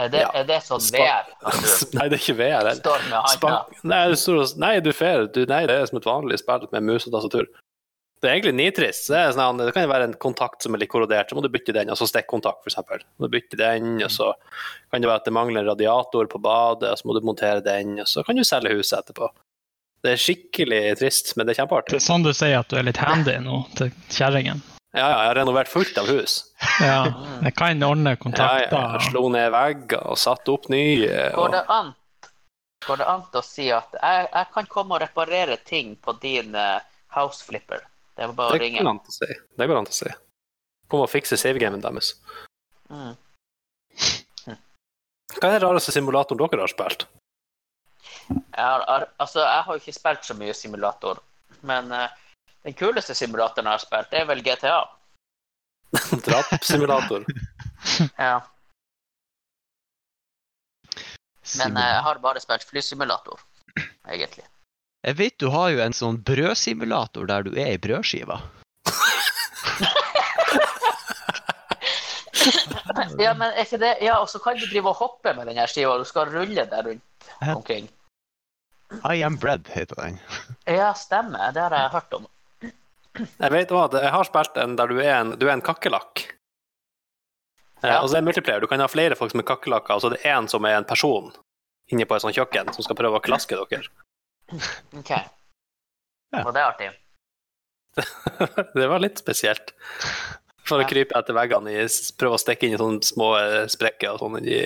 [SPEAKER 2] Er det, er det sånn
[SPEAKER 1] Skal-
[SPEAKER 2] VR? at du
[SPEAKER 1] Nei, det er ikke VR. det er-
[SPEAKER 2] Står med handa?
[SPEAKER 1] Spank... Nei, du står og Nei, du fer. Du, nei, det er som et vanlig spill med mus og tastatur. Det er egentlig nitrist. Det, er sånn, det kan jo være en kontakt som er litt korrodert, så må du bytte den, altså stikkontakt, f.eks. Du bytter den, og så kan det være at det mangler en radiator på badet, og så må du montere den, og så kan du selge huset etterpå. Det er skikkelig trist, men det er
[SPEAKER 3] Det
[SPEAKER 1] kjempeartig.
[SPEAKER 3] er sånn du sier at du er litt handy nå til kjerringen.
[SPEAKER 1] Ja, ja, jeg har renovert fullt av hus.
[SPEAKER 3] Ja,
[SPEAKER 2] Mm.
[SPEAKER 3] jeg kan ordne
[SPEAKER 1] Ja, ja, jeg
[SPEAKER 3] kontakter.
[SPEAKER 1] slo ned vegger og satte opp nye.
[SPEAKER 2] Går
[SPEAKER 1] Og...
[SPEAKER 2] det an, går det an til å si at jeg, jeg kan komme og reparere ting på din eh, house flipper? Det var bare å
[SPEAKER 1] Det går
[SPEAKER 2] ringe.
[SPEAKER 1] an til å si. Det går an til å si. Kom og fikse savegamen deres.
[SPEAKER 2] Mm.
[SPEAKER 1] Hva er den rareste simulatoren dere har spilt?
[SPEAKER 2] Jeg, har, har- altså, jeg har jo ikke spilt så mye simulator, men eh, den kuleste simulatoren jeg har spilt, det er vel GTA.
[SPEAKER 1] Drapssimulator.
[SPEAKER 2] Ja. Men eh, jeg har bare spilt flysimulator, egentlig.
[SPEAKER 4] Jeg vet du har jo en sånn brødsimulator der du er i brødskiva.
[SPEAKER 2] Ja, men er ikke det Ja, og så kan du drive og hoppe med den her skiva, du skal rulle der rundt omkring.
[SPEAKER 4] I am bread heter den.
[SPEAKER 2] Ja, stemmer. Det har jeg hørt om.
[SPEAKER 1] Jeg vet hva, jeg har spilt en der du er en, du er en kakerlakk. Eh,
[SPEAKER 2] Ja.
[SPEAKER 1] Altså, det er multiplayer. Du kan ha flere folk som er kakerlakker, og så er det én som er en person inne på et sånt kjøkken som skal prøve å klaske dere.
[SPEAKER 2] OK.
[SPEAKER 4] Ja.
[SPEAKER 2] Og det er artig.
[SPEAKER 1] det var litt spesielt. For å krype etter veggene i Prøve å stikke inn i sånne små eh, sprekker og sånn i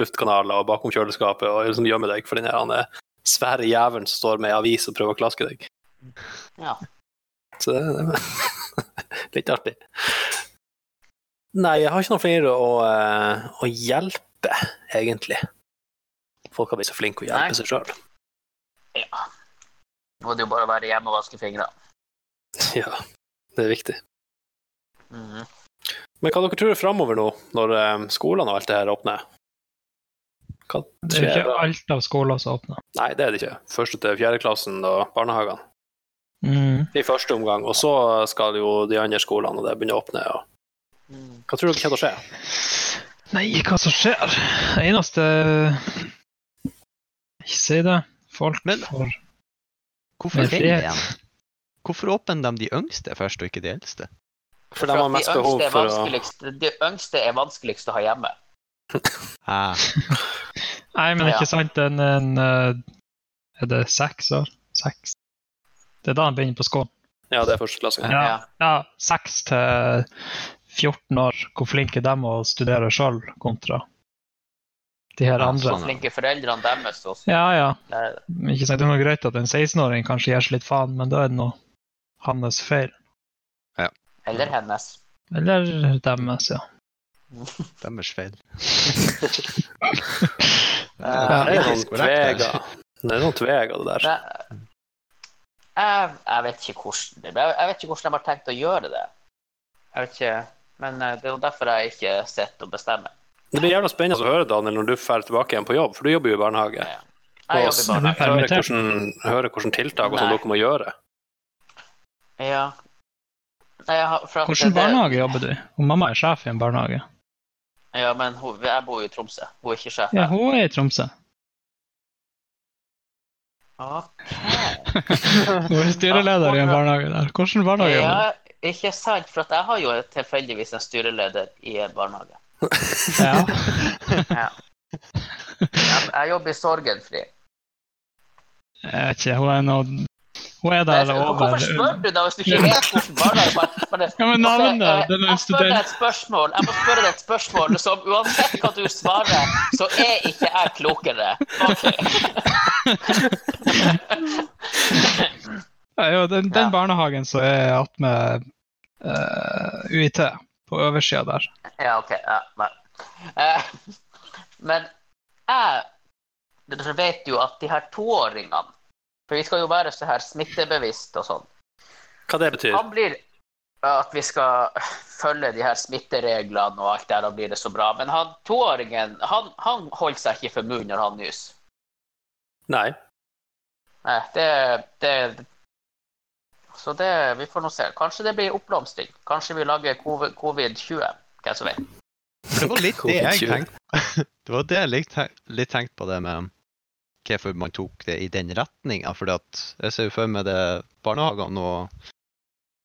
[SPEAKER 1] luftkanaler og bakom kjøleskapet og liksom gjemme deg for den her han, eh, svære jævelen som står med ei avis og prøver å klaske deg.
[SPEAKER 2] Ja.
[SPEAKER 1] Så det, det litt artig. Nei, jeg har ikke noen flere å, eh, å hjelpe, egentlig. Folk har blitt så flinke å hjelpe
[SPEAKER 2] Nei.
[SPEAKER 1] seg sjøl.
[SPEAKER 2] ja. Må det jo bare være hjemme og vaske fingre.
[SPEAKER 1] Ja, det er viktig.
[SPEAKER 2] Mhm.
[SPEAKER 1] Men hva dere tror er framover nå, når eh, skolene og alt det her åpner? Hva
[SPEAKER 3] Det er jo
[SPEAKER 1] skjer da?
[SPEAKER 3] ikke alt av skoler som åpner.
[SPEAKER 1] Nei, det er det ikke. Første til fjerdeklassen og barnehagene
[SPEAKER 3] Mm.
[SPEAKER 1] i første omgang. Og så skal jo de andre skolene og det begynne å åpne. Og...
[SPEAKER 2] Mm.
[SPEAKER 1] Hva tror dere kommer til å skje?
[SPEAKER 3] Nei, hva som skjer? Det eneste Ikke si det. Folk
[SPEAKER 4] Men-
[SPEAKER 3] får
[SPEAKER 4] Hvorfor
[SPEAKER 3] Men
[SPEAKER 4] det
[SPEAKER 3] frihet.
[SPEAKER 4] igjen? Hvorfor åpner de de yngste først, og ikke de eldste?
[SPEAKER 1] For de har
[SPEAKER 2] at
[SPEAKER 1] mest behov
[SPEAKER 2] yngste er
[SPEAKER 1] for å
[SPEAKER 2] vanskeligst- De yngste er vanskeligst å ha hjemme.
[SPEAKER 4] Ah,
[SPEAKER 3] Nei, men
[SPEAKER 2] Ja.
[SPEAKER 3] ikke sant, en, en eh, Er det seks år? Seks? Det er da han begynner på skolen.
[SPEAKER 1] Ja, det er førsteklassen.
[SPEAKER 3] Ja. Ja, seks til 14 år. Hvor flinke de å studere sjøl, kontra de her
[SPEAKER 4] Ja,
[SPEAKER 3] andre.
[SPEAKER 4] sånn,
[SPEAKER 2] Flinke foreldrene deres også.
[SPEAKER 3] Ja, ja.
[SPEAKER 2] Der,
[SPEAKER 3] Ikke sant, det er noe greit at en 16-åring kanskje gir seg litt faen, men da er det nå hans feil.
[SPEAKER 2] eller hennes.
[SPEAKER 3] Eller deres, ja.
[SPEAKER 4] deres feil.
[SPEAKER 1] Ja, det er noen
[SPEAKER 4] politisk korrekt, altså.
[SPEAKER 1] tveger.
[SPEAKER 4] det.
[SPEAKER 1] Det er noen tveger, det der.
[SPEAKER 2] Det, jeg, jeg vet ikke hvordan det jeg, jeg vet ikke hvordan de har tenkt å gjøre det. Jeg vet ikke, men eh, det er jo derfor jeg ikke sitter og bestemmer.
[SPEAKER 1] Det blir jævla spennende å høre, Daniel, når du drar tilbake igjen på jobb, for du jobber jo i barnehage.
[SPEAKER 2] Jeg
[SPEAKER 1] Og
[SPEAKER 2] jobber
[SPEAKER 3] Men
[SPEAKER 2] bare
[SPEAKER 3] du er
[SPEAKER 2] med
[SPEAKER 1] høre
[SPEAKER 3] permittert.
[SPEAKER 1] hvordan, høre hvordan tiltak og sånn
[SPEAKER 2] Nei.
[SPEAKER 1] dere må gjøre.
[SPEAKER 2] ja. Nei, jeg har- for at det-
[SPEAKER 3] Hvilken barnehage jobber du i? Hun Mamma er sjef i en barnehage.
[SPEAKER 2] Ja, men hun, jeg bor jo i Tromsø. Hun er ikke sjef.
[SPEAKER 3] Ja,
[SPEAKER 2] her.
[SPEAKER 3] hun er i Tromsø.
[SPEAKER 2] Ok.
[SPEAKER 3] Hun er styreleder i en barnehage der. Hvilken barnehage jobber du
[SPEAKER 2] Ja,
[SPEAKER 3] i?
[SPEAKER 2] ikke sant, for at jeg har jo tilfeldigvis en styreleder i en barnehage.
[SPEAKER 3] Ja.
[SPEAKER 2] Jeg, jeg jobber i Sorgenfri.
[SPEAKER 3] Jeg vet ikke, hun er noe Hun er der over
[SPEAKER 2] Hvorfor spør du da hvis du ikke vet hvordan barnehage bare, bare,
[SPEAKER 3] Ja, men
[SPEAKER 2] Altså,
[SPEAKER 3] navnet,
[SPEAKER 2] eh,
[SPEAKER 3] den er
[SPEAKER 2] Jeg spør deg
[SPEAKER 3] student.
[SPEAKER 2] et spørsmål. Jeg må spørre deg et spørsmål som uansett hva du svarer, så er ikke jeg klokere. Ok.
[SPEAKER 3] Ja, jo, den, den
[SPEAKER 2] Ja.
[SPEAKER 3] barnehagen som er attmed uh, UiT, på øversida der.
[SPEAKER 2] Ja, OK. Ja, nei. Eh, Men jeg dere vet jo at de her toåringene For vi skal jo være så her smittebevisst og sånn.
[SPEAKER 1] Hva det betyr?
[SPEAKER 2] Han blir at vi skal følge de her smittereglene og alt der, da blir det så bra. Men han toåringen, han, han holder seg ikke for munnen når han nyser.
[SPEAKER 1] Nei.
[SPEAKER 2] Nei, det, det Så det Vi får nå se. Kanskje det blir oppblomstring. Kanskje vi lager covid- covid-20. Hvem som vet.
[SPEAKER 4] Det var litt det jeg
[SPEAKER 1] Covid-tjue.
[SPEAKER 4] tenkte Det var det jeg litt, tenk- litt tenkte på det med hvorfor man tok det i den retninga. For jeg ser jo for meg det barnehagene og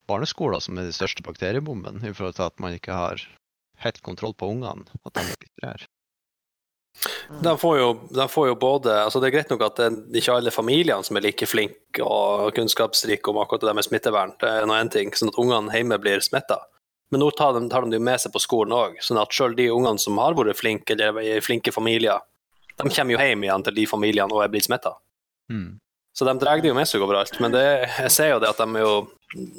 [SPEAKER 4] barneskoler som er de største bakteriebomben, i forhold til at man ikke har helt kontroll på ungene. At de ikke sprer.
[SPEAKER 1] De får, jo, de får jo både altså Det er greit nok at det er ikke alle familiene som er like flinke og kunnskapsrike om akkurat det der med smittevern, det er nå en ting, sånn at ungene hjemme blir smitta. Men nå tar de, tar de det jo med seg på skolen òg, sånn at sjøl de ungene som har vært flinke, eller er i flinke familier, de kommer jo hjem igjen til de familiene og er blitt smitta.
[SPEAKER 4] Mm.
[SPEAKER 1] Så de drar det jo med seg overalt. Men det, jeg ser jo det at de er jo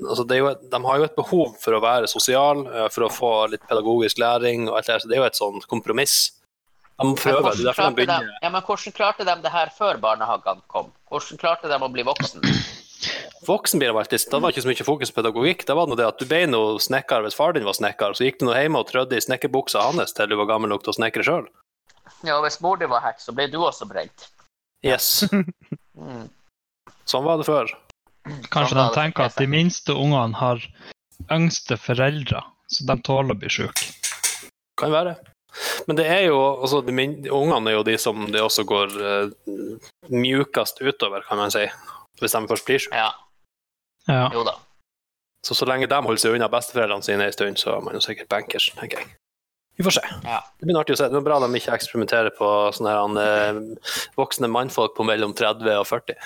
[SPEAKER 1] Altså det er jo, et- de har jo et behov for å være sosial, eh, for å få litt pedagogisk læring og alt det der, så det er jo et sånn kompromiss. De må prøve, det er derfor
[SPEAKER 2] hvordan,
[SPEAKER 1] de
[SPEAKER 2] klarte de,
[SPEAKER 1] begynner.
[SPEAKER 2] ja, men hvordan klarte de det her før barnehagene kom? Hvordan klarte de å bli voksen?
[SPEAKER 1] Voksenbilarbeidist, da var det ikke så mye fokus på pedagogikk. Da var det noe det at du ble noe snekker hvis far din var snekker, så gikk du nå hjemme og trødde i snekkerbuksa hans til du var gammel nok til å snekre sjøl.
[SPEAKER 2] Ja, og Hvis mor di var hekk, så ble du også brent.
[SPEAKER 1] Yes.
[SPEAKER 2] Mm.
[SPEAKER 1] Sånn var det før.
[SPEAKER 3] Kanskje de
[SPEAKER 2] Sånn er det.
[SPEAKER 3] tenker at de minste ungene har yngste foreldre, så de tåler å bli syke.
[SPEAKER 1] Kan være. Men det er jo altså, de min, Ungene er jo de som det også går eh, mjukest utover, kan man si. Hvis de først blir syke.
[SPEAKER 2] Ja,
[SPEAKER 3] Ja.
[SPEAKER 2] jo da.
[SPEAKER 1] Så så lenge de holder seg unna besteforeldrene sine en stund, så er man jo sikkert bankers, tenker jeg. Vi får se.
[SPEAKER 2] Ja.
[SPEAKER 1] Det blir artig å se. Det er bra de ikke eksperimenterer på sånne her, han, eh, voksne mannfolk på mellom 30 og 40.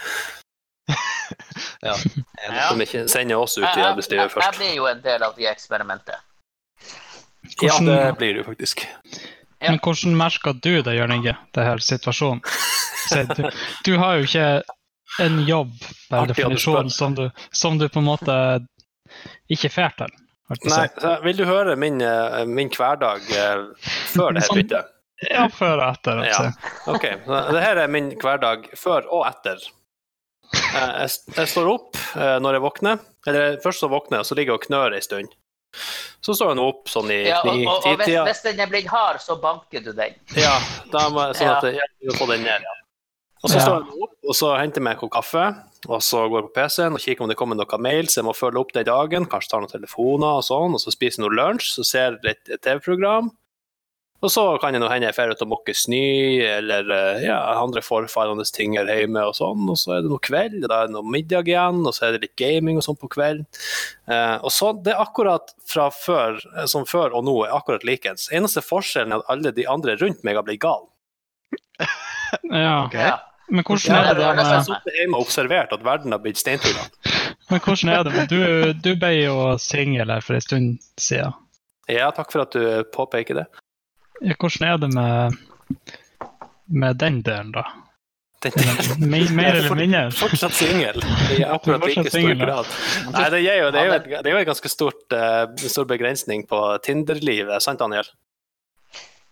[SPEAKER 4] Ja.
[SPEAKER 2] Ja.
[SPEAKER 1] Som ikke sender oss ut i
[SPEAKER 2] Jeg, jeg, jeg,
[SPEAKER 1] arbeidslivet
[SPEAKER 2] jeg
[SPEAKER 1] først.
[SPEAKER 2] blir jo en del av de eksperimentet.
[SPEAKER 1] Ja,
[SPEAKER 3] Hvordan,
[SPEAKER 1] det blir det jo faktisk.
[SPEAKER 2] Ja.
[SPEAKER 3] Men hvordan merker du det, Jørn Inge, det her situasjonen? Se, du, du har jo ikke en jobb
[SPEAKER 1] Artig
[SPEAKER 3] per
[SPEAKER 1] at du spør.
[SPEAKER 3] definisjon som du, som du på en måte ikke får til. holdt på å
[SPEAKER 1] Nei,
[SPEAKER 3] si.
[SPEAKER 1] så vil du høre min, eh, min hverdag eh, før det her
[SPEAKER 3] Sånn.
[SPEAKER 1] byttet?
[SPEAKER 3] Ja, før og etter.
[SPEAKER 1] Ja.
[SPEAKER 3] altså.
[SPEAKER 1] Ok, så det her er min hverdag før og etter. Eh, Jeg, s- jeg står opp eh, når jeg våkner. Eller først så våkner jeg, og så ligger jeg og knør ei stund. Så står jeg nå opp sånn i
[SPEAKER 2] Ja, og, og, og hvis,
[SPEAKER 1] ni-ti-tida.
[SPEAKER 2] hvis den er blitt hard, så banker du den.
[SPEAKER 1] Ja, da må jeg sånn at jeg hjelper å få den ned igjen. Og så
[SPEAKER 3] Ja.
[SPEAKER 1] står jeg nå opp, og så henter jeg meg en kopp kaffe, og så går jeg på PC-en og kikker om det kommer noen mails jeg må følge opp den dagen, kanskje tar noen telefoner og sånn, og så spiser jeg noe lunsj, så ser jeg et et TV-program. Og så kan det nå hende jeg drar ut og måker snø, eller eh, ja, andre forfallende ting her hjemme og sånn. Og så er det noe kveld, og da er det noe middag igjen, og så er det litt gaming og sånn på kvelden. Eh, og så, Det er akkurat fra før, eh, som før og nå er akkurat likens. Eneste forskjellen er at alle de andre rundt meg har blitt gale.
[SPEAKER 3] Ja.
[SPEAKER 4] Ok.
[SPEAKER 2] Ja.
[SPEAKER 3] Men hvordan
[SPEAKER 1] Ja,
[SPEAKER 3] er det
[SPEAKER 1] jeg
[SPEAKER 3] det
[SPEAKER 1] har
[SPEAKER 3] med,
[SPEAKER 1] sittet hjemme og observert at verden har blitt steinfull.
[SPEAKER 3] men hvordan er det med Du, du ble jo singel her for en stund siden.
[SPEAKER 1] Ja, takk for at du påpeker det.
[SPEAKER 3] Ja, Hvordan er det med, med den delen, da?
[SPEAKER 1] Den
[SPEAKER 3] Me- Mer eller mindre?
[SPEAKER 1] fortsatt singel i akkurat like
[SPEAKER 3] Fortsatt
[SPEAKER 1] stor
[SPEAKER 3] singel, ja.
[SPEAKER 1] grad. Nei, det er jo, det er jo, et, det er jo en ganske stort, eh, stor begrensning på Tinder-livet, sant Daniel?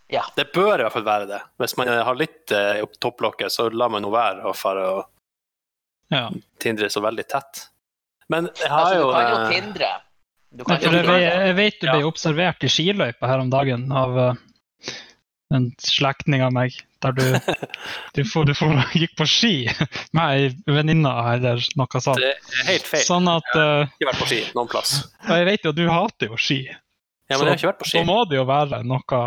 [SPEAKER 2] Ja.
[SPEAKER 1] Det bør i hvert fall være det. Hvis man har litt eh, opp topplokket, så lar man nå være å fare og
[SPEAKER 3] Ja.
[SPEAKER 1] tindre så veldig tett. Men jeg har
[SPEAKER 2] Altså,
[SPEAKER 1] jo,
[SPEAKER 2] du kan jo
[SPEAKER 1] eh,
[SPEAKER 2] tindre. Du
[SPEAKER 3] Nei,
[SPEAKER 2] kan jo
[SPEAKER 3] for jeg,
[SPEAKER 2] tindre.
[SPEAKER 3] ve- jeg vet du ble observert i skiløypa her om dagen av eh, en slektning av meg. Der du, du, for, du for, gikk på ski med ei venninne eller noe sånt.
[SPEAKER 1] Det er helt feil.
[SPEAKER 3] Sånn at eh,
[SPEAKER 1] Jeg har ikke vært på ski noen plass.
[SPEAKER 3] Og jeg vet jo at du hater jo ski.
[SPEAKER 1] Ja, men jeg har ikke vært på ski.
[SPEAKER 3] Så må det jo være noe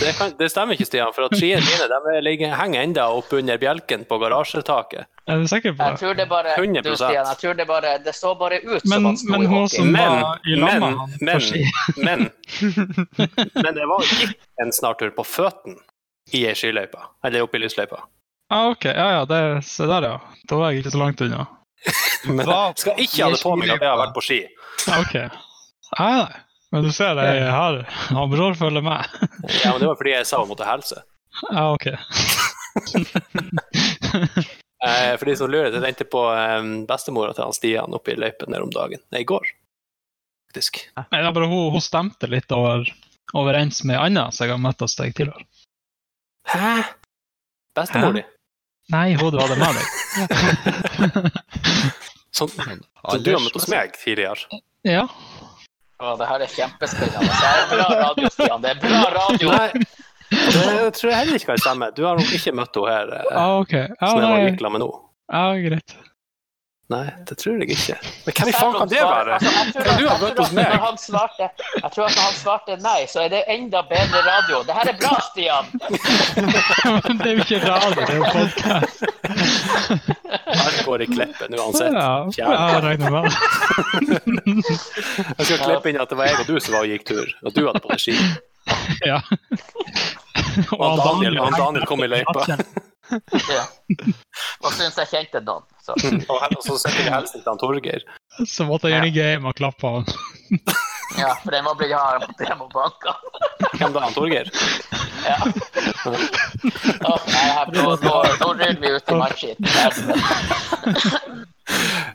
[SPEAKER 1] Det, kan, det stemmer ikke, Stian, for at skiene mine de ligger, henger enda oppunder bjelken på garasjetaket.
[SPEAKER 3] Er du sikker på
[SPEAKER 2] Jeg
[SPEAKER 3] det?
[SPEAKER 2] tror det bare
[SPEAKER 1] 100%.
[SPEAKER 2] Du, Stian, jeg tror det bare Det så bare ut som
[SPEAKER 3] Men,
[SPEAKER 2] han sto i
[SPEAKER 3] men hun
[SPEAKER 2] hockey.
[SPEAKER 3] som
[SPEAKER 1] Men-
[SPEAKER 3] var i lammet
[SPEAKER 1] men-
[SPEAKER 3] han
[SPEAKER 1] men-
[SPEAKER 3] på ski
[SPEAKER 1] Men, men det var ikke en snartur på føttene i ei skiløype, eller oppe i lysløypa.
[SPEAKER 3] ah, OK. Ja ja, det, se der, ja. Da var jeg ikke så langt unna.
[SPEAKER 1] Men
[SPEAKER 4] Hva?
[SPEAKER 1] jeg skal ikke ha det på meg at jeg har vært på ski.
[SPEAKER 3] Ah, OK. Nei, nei. Men du ser, jeg er her. Han bror følger med.
[SPEAKER 1] Ja, men Det var fordi jeg sa hun måtte hilse.
[SPEAKER 3] Ja, ok.
[SPEAKER 1] Eh, For de som lurer, jeg tenkte på eh, bestemora til han Stian oppe i løypen der om dagen. Nei, i går, faktisk.
[SPEAKER 3] Nei, det er bare hun, hun stemte litt over, overens med ei anna som jeg har møtt hos deg tidligere.
[SPEAKER 1] Hæ? Bestemor
[SPEAKER 3] Hæ?
[SPEAKER 1] di?
[SPEAKER 3] Nei, hun du hadde med deg.
[SPEAKER 1] Som som Sånn, du har møtt hos meg tidligere?
[SPEAKER 3] ja.
[SPEAKER 2] Å, det her er kjempespennende. Det er bra radio, Stian. Det er bra radio.
[SPEAKER 1] Nei, det tror jeg heller ikke kan stemme. Du har nok ikke møtt henne her. eh,
[SPEAKER 3] Ah, ok. Ja,
[SPEAKER 1] som jeg var
[SPEAKER 3] nei.
[SPEAKER 1] gikk med nå.
[SPEAKER 3] ja, greit.
[SPEAKER 1] Nei, det tror jeg ikke. Men hvem i faen kan det være?
[SPEAKER 2] Altså, jeg tror-
[SPEAKER 1] Kan du ha
[SPEAKER 2] jeg tror
[SPEAKER 1] møtt hos
[SPEAKER 2] at
[SPEAKER 1] meg?
[SPEAKER 2] Når han svarte, jeg tror at når han svarte nei, så er det enda bedre radio. Det her er bra, Stian.
[SPEAKER 3] Men det er jo ikke radio, det er jo podkast.
[SPEAKER 1] Alt går i klippen uansett.
[SPEAKER 3] Ja, jeg regner med det.
[SPEAKER 1] Jeg skal klippe inn at det var jeg og du som var og gikk tur, og du hadde på deg ski.
[SPEAKER 3] Ja.
[SPEAKER 1] Og han Daniel, han Daniel kom i løypa.
[SPEAKER 2] Ja. Og syns jeg kjente noen. Så.
[SPEAKER 1] Og her- og så sendte jeg hilsen til han Torgeir.
[SPEAKER 3] Så måtte jeg ligge hjemme og klappe han.
[SPEAKER 2] Ja, for den må bli hard mot dem og banka.
[SPEAKER 1] Hvem da, han Torgeir?
[SPEAKER 2] Ja. Å, nei, her, nå, nå, nå ryller vi ut i matchen.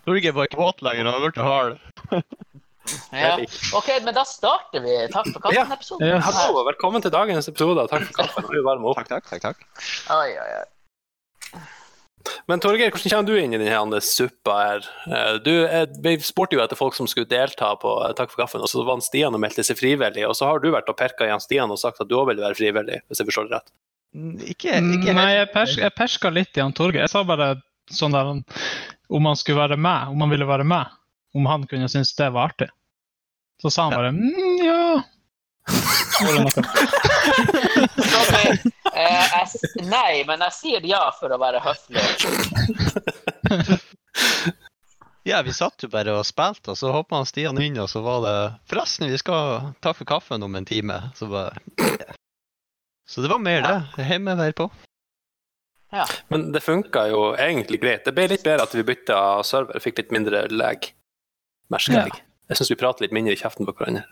[SPEAKER 4] Norge var ikke våt lenger, han har blitt hard.
[SPEAKER 2] Ja. OK, men da starter vi. Takk for kaffen-episoden.
[SPEAKER 3] Ja.
[SPEAKER 1] Hallo, og velkommen til dagens episode. og Takk for kaffen. Vi varmer opp.
[SPEAKER 4] Takk, takk, takk, takk.
[SPEAKER 2] Oi, oi, oi.
[SPEAKER 1] Men Torgeir, hvordan kommer du inn i denne suppa her? Eh, Du, eh, vi spurte jo etter folk som skulle delta på eh, Takk for kaffen, og så var han Stian og meldte seg frivillig. Og så har du vært og perka i han Stian og sagt at du òg vil være frivillig, hvis jeg forstår det rett.
[SPEAKER 4] Mm, Ikke, ikke
[SPEAKER 3] Nei,
[SPEAKER 4] helt.
[SPEAKER 3] jeg, pers jeg perska litt i han Torgeir. Jeg sa bare sånn der han- om han skulle være med, om han ville være med. Om han kunne synes det var artig. Så sa han bare mm, ja. Eller noe.
[SPEAKER 2] Sorry. Eh, jeg, s- nei, men jeg sier ja for å være høflig.
[SPEAKER 4] Ja, vi satt jo bare og spilte, og så hoppa Stian inn, og så var det Forresten, vi skal ta for kaffen om en time. Så bare Så det var mer det. Hjemme være på.
[SPEAKER 1] Men det funka jo egentlig greit. Det ble litt bedre at vi bytta server, fikk litt mindre lag. Merker jeg. Jeg syns vi prater litt mindre i kjeften på hverandre.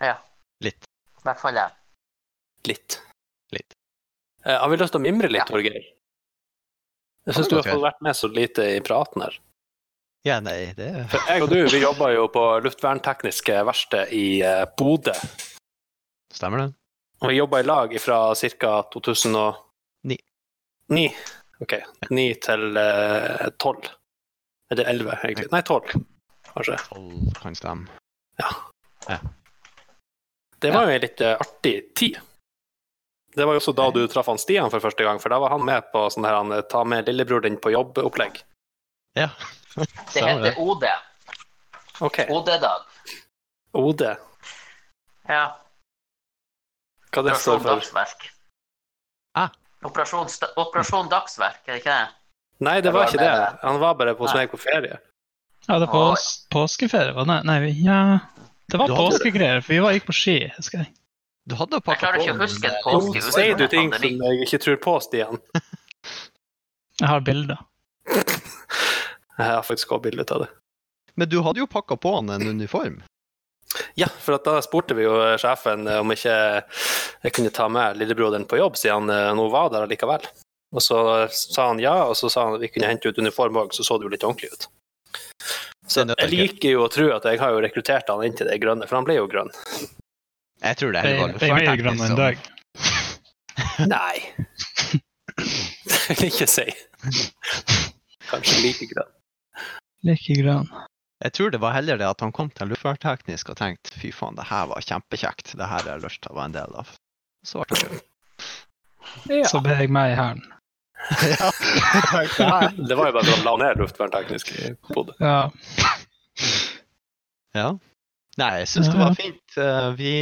[SPEAKER 2] Ja.
[SPEAKER 4] Litt.
[SPEAKER 2] I hvert fall jeg.
[SPEAKER 1] Litt.
[SPEAKER 4] Litt.
[SPEAKER 1] Eh, har vi lyst til å mimre litt,
[SPEAKER 2] Ja.
[SPEAKER 1] Torgeir? Jeg
[SPEAKER 4] Kan
[SPEAKER 1] syns
[SPEAKER 4] vi
[SPEAKER 1] du har
[SPEAKER 4] godt
[SPEAKER 1] fått vært med så lite i praten her.
[SPEAKER 4] Ja, nei, det er
[SPEAKER 1] For jeg og du vi jobba jo på luftverntekniske verksted i eh, Bodø.
[SPEAKER 4] Stemmer det?
[SPEAKER 1] Og vi jobba i lag fra ca. 2009
[SPEAKER 4] Ni.
[SPEAKER 1] Ni. OK. 9 til eh, 12. Eller 11, egentlig. Nei, 12, kanskje.
[SPEAKER 4] Tolv kan stemme.
[SPEAKER 1] Det var jo en litt eh, artig tid. Det var jo også da du traff han Stian for første gang, for da var han med på sånn her han, eh, ta med lillebror din på jobb-opplegg.
[SPEAKER 4] Ja.
[SPEAKER 2] Det
[SPEAKER 4] Stemmer
[SPEAKER 2] heter OD.
[SPEAKER 1] OK.
[SPEAKER 2] OD-dag.
[SPEAKER 1] OD.
[SPEAKER 2] Ja.
[SPEAKER 1] Hva det står
[SPEAKER 2] Operasjon
[SPEAKER 1] for?
[SPEAKER 2] Dagsverk.
[SPEAKER 4] Ah.
[SPEAKER 2] Operasjon, Sta- Operasjon Dagsverk, er det ikke det?
[SPEAKER 1] Nei, det
[SPEAKER 2] Jeg
[SPEAKER 1] var
[SPEAKER 2] var
[SPEAKER 1] ikke
[SPEAKER 2] med
[SPEAKER 1] det.
[SPEAKER 2] der.
[SPEAKER 1] Han var bare hos
[SPEAKER 2] Nei.
[SPEAKER 1] meg på ferie.
[SPEAKER 3] Ja, det er
[SPEAKER 2] Oi.
[SPEAKER 3] pås påskeferie, var det? Nei, nei, ja Det var
[SPEAKER 4] Du hadde det.
[SPEAKER 3] påskegreier, for vi var gikk på ski, husker jeg.
[SPEAKER 4] Du hadde
[SPEAKER 2] Jeg
[SPEAKER 4] pakka
[SPEAKER 2] klarer ikke å huske et
[SPEAKER 1] Nå
[SPEAKER 2] påske uten
[SPEAKER 1] sier du ting
[SPEAKER 2] pandemi.
[SPEAKER 1] som jeg ikke tror på, Stian.
[SPEAKER 3] Jeg har bilder.
[SPEAKER 1] Jeg har faktisk også bilde av det.
[SPEAKER 4] Men du hadde jo pakka på han en uniform.
[SPEAKER 1] Ja, for at da spurte vi jo eh, sjefen om ikke jeg kunne ta med lillebroderen på jobb, siden han eh, nå var der allikevel. Og så eh, sa han ja, og så sa han at vi kunne hente ut uniform òg, så så det jo litt ordentlig ut. Så
[SPEAKER 4] Det er nødt
[SPEAKER 1] jeg
[SPEAKER 4] til.
[SPEAKER 1] liker jo å tro at jeg har jo rekruttert han inn til det grønne, for han ble jo grønn.
[SPEAKER 4] Jeg tror det
[SPEAKER 3] Jeg,
[SPEAKER 4] her var liksom.
[SPEAKER 3] jeg, jeg er grønn en dag.
[SPEAKER 1] Nei. Det vil jeg ikke si. Kanskje like grønn.
[SPEAKER 3] Like grønn.
[SPEAKER 4] Jeg tror det var heller det at han kom til luftfartsteknisk og tenkte fy faen, det her var kjempekjekt, det her har jeg lyst til å være en del av. Så ble det kjøpt.
[SPEAKER 3] Så ber jeg meg i hæren.
[SPEAKER 4] Ja.
[SPEAKER 1] Det var jo bare for å la ned luftvernteknisk i Bodø.
[SPEAKER 3] Ja.
[SPEAKER 4] ja. Nei, jeg syns det var fint. Eh, Vi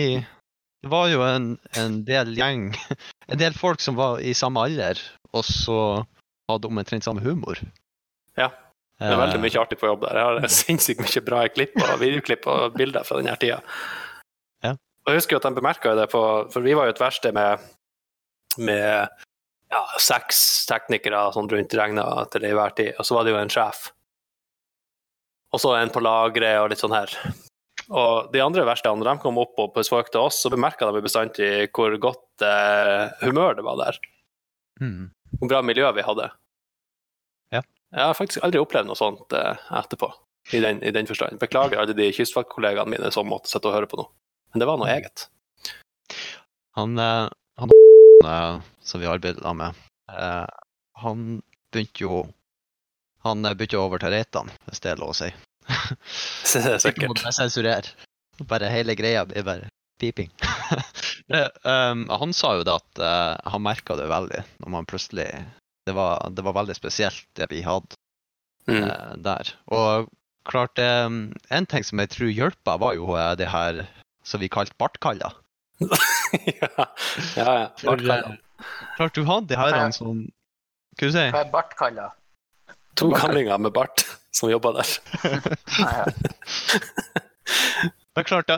[SPEAKER 4] Det var jo en, en del gjeng, en del folk som var i samme alder, og så hadde omtrent samme humor.
[SPEAKER 1] Ja. Det er veldig
[SPEAKER 4] Eh,
[SPEAKER 1] mye artig på jobb der. Jeg har sinnssykt mye bra klipp og videoklipp og bilder fra denne tida.
[SPEAKER 4] Ja.
[SPEAKER 1] Og jeg husker jo at de bemerka det på For vi var jo et verksted med, med ja, seks teknikere sånn rundt regna til enhver tid, og så var det jo en sjef. Og så en på lageret og litt sånn her. Og de andre verkstedene, når de kom opp og besøkte oss, så bemerka de bestandig hvor godt eh, humør det var der
[SPEAKER 4] mm.
[SPEAKER 1] hvor bra miljø vi hadde.
[SPEAKER 4] Ja.
[SPEAKER 1] Jeg har faktisk aldri opplevd noe sånt eh, etterpå, i den, i den forstand. Beklager alle de kystvaktkollegaene mine som måtte sitte og høre på noe. Men det var noe eget.
[SPEAKER 4] Han, eh, han eh, som vi arbeidet med, eh, han begynte jo Han eh, begynte å overta Reitan, hvis det er lov å si. Ikke må
[SPEAKER 1] Sikkert.
[SPEAKER 4] jeg sensurere. Bare hele greia blir bare piping. Det, ehm, han sa jo det at eh, han merka det veldig når man plutselig det var, det var veldig spesielt, det vi hadde
[SPEAKER 1] Mm.
[SPEAKER 4] eh, der. Og klart, ehm, en ting som jeg tror hjelpa, var jo eh, det her som vi kalte bartkaller.
[SPEAKER 1] ja, ja. ja.
[SPEAKER 4] For, eh, Klart du hadde de her
[SPEAKER 2] Ja.
[SPEAKER 4] han som Hva skal
[SPEAKER 2] Hva er bart kalla?
[SPEAKER 1] To gamlinger med bart som jobba der.
[SPEAKER 4] du si?
[SPEAKER 2] Ja, ja.
[SPEAKER 4] Det er klart,